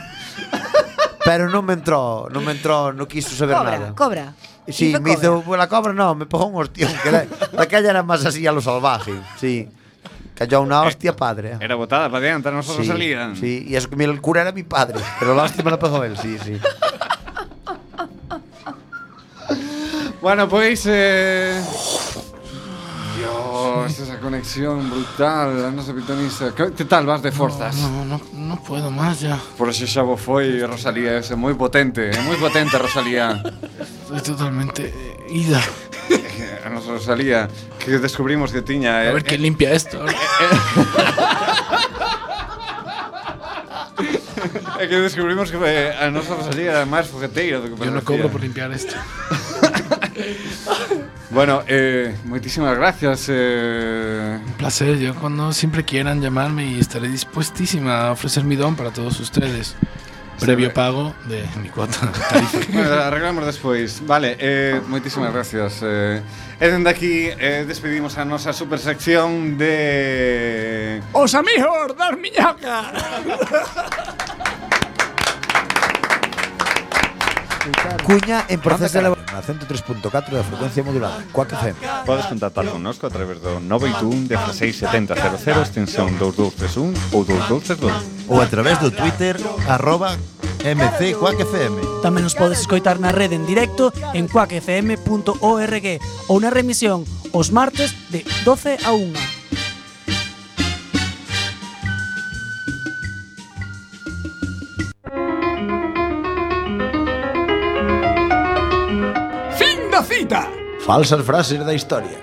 Speaker 8: Pero no me entró, no me entró, no quiso saber
Speaker 6: Cobra,
Speaker 8: nada.
Speaker 6: cobra.
Speaker 8: Sí,
Speaker 6: Hizo
Speaker 8: me hizo bueno, la cobra, no, me pegó un hostión. Que la, la calle era más así a lo salvaje, sí. Cayó una hostia padre.
Speaker 5: Era botada para diante, non só
Speaker 8: Sí,
Speaker 5: Rosalía.
Speaker 8: sí, y eso que mi- el cura era mi padre, pero la hostia me la pegó él, sí, sí.
Speaker 5: Bueno, pois... Eh... Dios, esa conexión brutal, a nosa pitonisa. Que, que tal vas de forzas?
Speaker 3: No, no, no puedo más ya.
Speaker 5: Por eso xa vos foi Rosalía, ese moi potente, é moi potente Rosalía.
Speaker 3: Estoy totalmente eh, ida.
Speaker 5: Eh, A nosa Rosalía que descubrimos que tiña eh,
Speaker 3: A ver quién limpia esto. ahora.
Speaker 5: É que descubrimos que eh, a nosa Rosalía era máis fogueteira do que
Speaker 3: Yo
Speaker 5: parecía.
Speaker 3: no cobro por limpiar esto.
Speaker 5: Bueno, eh, moitísimas gracias. Eh...
Speaker 3: Placer, yo cuando siempre quieran llamarme y estaré dispuestísima a ofrecer mi don para todos ustedes. Previo pago de mi cuota.
Speaker 5: Bueno, arreglamos despois. Vale, eh, moitísimas gracias. Eh, e dende aquí eh, despedimos a nosa super sección de...
Speaker 10: Os amigos das miñacas.
Speaker 8: Cuña en proceso de la...
Speaker 2: Na 103.4 da frecuencia modulada. Cuac FM.
Speaker 19: Podes contactar connosco a través do 921 16 70 00 extensión 2231 ou 2232
Speaker 4: Ou a través do Twitter, arroba
Speaker 19: MC Quack FM.
Speaker 4: Tamén nos podes escoitar na rede en directo en quackfm.org ou na remisión os martes de 12 a 1.
Speaker 10: Fin da cita.
Speaker 2: Falsas frases da historia.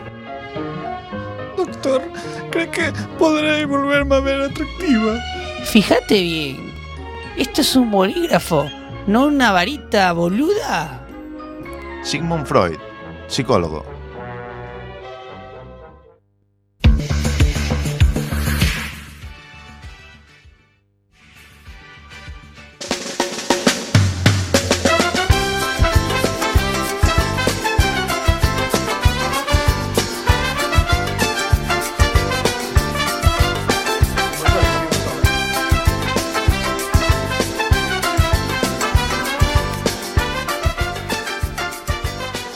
Speaker 10: Doctor, cree que podré volverme a ver atractiva?
Speaker 20: Fíjate bien. Esto es un bolígrafo, no una varita boluda.
Speaker 19: Sigmund Freud, psicólogo.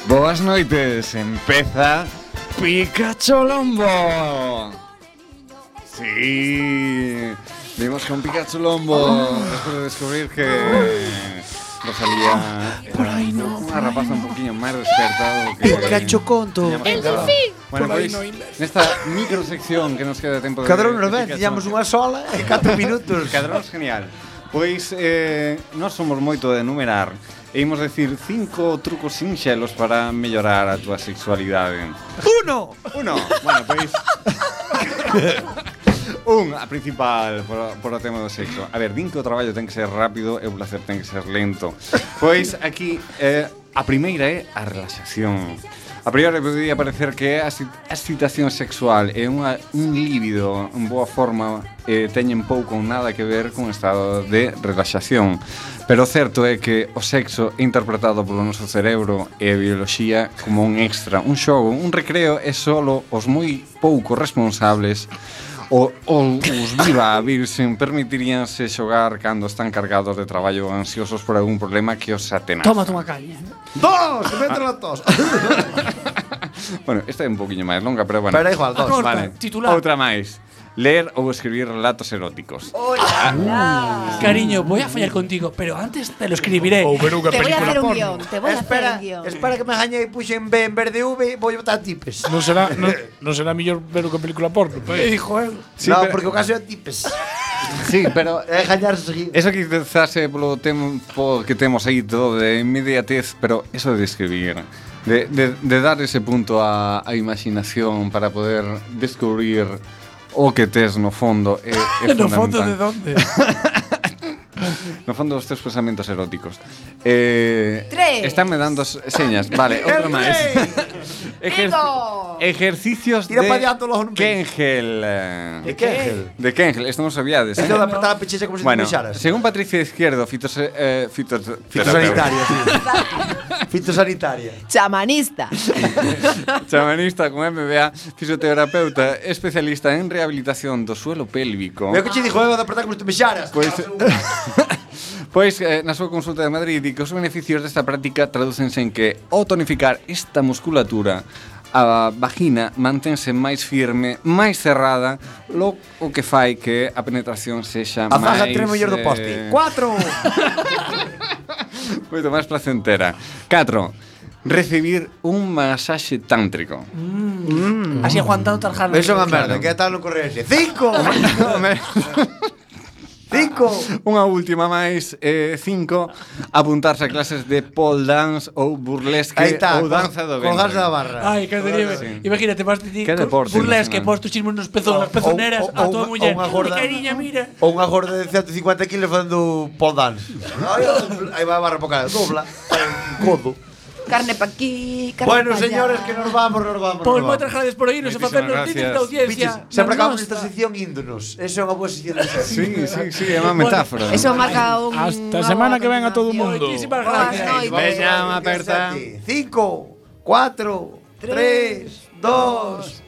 Speaker 5: Boas noites, empeza Pikachu Lombo. Sí, vimos con Pikachu Lombo despois de descubrir que Rosalía Ah, por aí no, unha rapaza un poquinho máis desperta do que
Speaker 4: Pikachu conto.
Speaker 5: El
Speaker 4: delfín.
Speaker 5: Bueno,
Speaker 8: Por aí
Speaker 5: pois,
Speaker 8: no
Speaker 5: nesta microsección que nos queda tempo de...
Speaker 8: Cadrón nos
Speaker 5: de
Speaker 8: ben,
Speaker 5: Pikachu.
Speaker 8: tiñamos unha sola eh? e 4 minutos.
Speaker 5: Cadrón es genial. Pois, eh, nós somos moito de enumerar E imos decir cinco trucos sinxelos para mellorar a túa sexualidade
Speaker 8: Uno.
Speaker 5: Uno. Bueno, pois... Un, a principal, por, o- por o tema do sexo A ver, din que o traballo ten que ser rápido e o placer ten que ser lento Pois aquí, eh, a primeira é a relaxación A priori podría parecer que a exci- a excitación sexual e unha, un líbido en boa forma eh, teñen pouco ou nada que ver con o estado de relaxación Pero o certo é que o sexo é interpretado polo noso cerebro e a bioloxía como un extra, un xogo, un recreo e solo os moi pouco responsables O, o, os viva a virxen permitiríanse xogar cando están cargados de traballo ou ansiosos por algún problema que os atenaza.
Speaker 4: Toma unha caña.
Speaker 8: Dos, metro a tos.
Speaker 5: Bueno, esta é un poquinho máis longa, pero bueno.
Speaker 8: Pero da igual, dos. Acorta, titular.
Speaker 5: Outra máis. Ler ou escribir relatos eróticos.
Speaker 10: Ah.
Speaker 4: Cariño, voy a fallar contigo, pero antes te lo escribiré.
Speaker 6: Te voy a hacer un guión, te voy a hacer un guión.
Speaker 8: Espera que me gañe y puse en B en vez de V, voy a botar tipes.
Speaker 3: Non será, non, non será mellor ver o que película porno, pues. pa.
Speaker 8: E dijo él. no,
Speaker 3: Sí, pero-
Speaker 8: porque o caso é tipes.
Speaker 5: Sí, pero
Speaker 8: é gañar seguido.
Speaker 5: Eso que quizás eh, é polo tempo que temos aí todo de inmediatez, pero eso de escribir, de, de, de dar ese punto á a imaginación para poder descubrir o que tes no fondo é, é
Speaker 10: No fondo de
Speaker 5: fundamental.
Speaker 10: dónde?
Speaker 5: No fondo os teus pensamentos eróticos. Eh,
Speaker 10: Tres.
Speaker 5: Estánme dando s- señas, vale, outro máis. Ejer- Ejercicios
Speaker 8: Tira
Speaker 5: de
Speaker 8: pa diante los hombres.
Speaker 5: Kengel. eh,
Speaker 8: De Kengel.
Speaker 5: De Kengel, esto non sabiades.
Speaker 8: Eso
Speaker 5: eh.
Speaker 8: de apretar a pechicha como se
Speaker 5: Bueno,
Speaker 8: te pisaras.
Speaker 5: según Patricia Izquierdo, fitose, eh, fitos-
Speaker 8: Fitosanitaria, Fitosanitaria.
Speaker 6: Chamanista.
Speaker 5: chamanista con MBA, fisioterapeuta, especialista en rehabilitación do suelo pélvico.
Speaker 8: Veo que che dijo, "Eh, de apretar como se te pisaras.
Speaker 5: Pois Pois eh, na súa consulta de Madrid di que os beneficios desta práctica tradúcense en que ao tonificar esta musculatura a vagina mantense máis firme, máis cerrada, lo o que fai que a penetración sexa
Speaker 8: A faja
Speaker 5: máis... eh,
Speaker 8: tres mellor do poste. Cuatro.
Speaker 5: Moito máis placentera. 4. Recibir un masaxe tántrico.
Speaker 4: Así aguantando tarjano.
Speaker 8: Eso é unha merda, que tal no correr ese. Cinco. Cinco.
Speaker 5: Unha última máis, eh, cinco, apuntarse a clases de pole dance ou burlesque
Speaker 4: Aí está,
Speaker 5: ou danza do ventre.
Speaker 4: colgarse da
Speaker 8: barra.
Speaker 4: Ay, que derive.
Speaker 5: Sí.
Speaker 4: Imagínate, vas de ti
Speaker 5: Que deporte,
Speaker 4: burlesque,
Speaker 5: imagínate.
Speaker 4: pos tus chismos nos pezones, pezoneras
Speaker 8: ou-
Speaker 4: a
Speaker 8: ou
Speaker 4: tua muller.
Speaker 8: unha- ou unha gorda.
Speaker 4: Ay, cariña, mira.
Speaker 8: Ou unha gorda de 150 kilos facendo pole dance. Aí vai a barra para cara, dobla, codo.
Speaker 6: Carne pa' aquí, carne
Speaker 8: Bueno,
Speaker 6: pa' allá.
Speaker 8: señores, que nos vamos, nos vamos.
Speaker 4: Pois moitas grazades por oírnos e
Speaker 8: Moitísimas
Speaker 4: facernos
Speaker 8: gracias.
Speaker 4: líderes da audiencia.
Speaker 8: Biches, sempre
Speaker 4: Na
Speaker 8: acabamos
Speaker 4: nosa.
Speaker 8: esta sección índonos. Eso é unha boa sección.
Speaker 5: Sí, sí, sí, é unha metáfora.
Speaker 6: Eso marca un.
Speaker 3: Hasta semana que venga todo o mundo.
Speaker 6: Muchísimas gracias.
Speaker 8: Cinco, cuatro, tres, dos,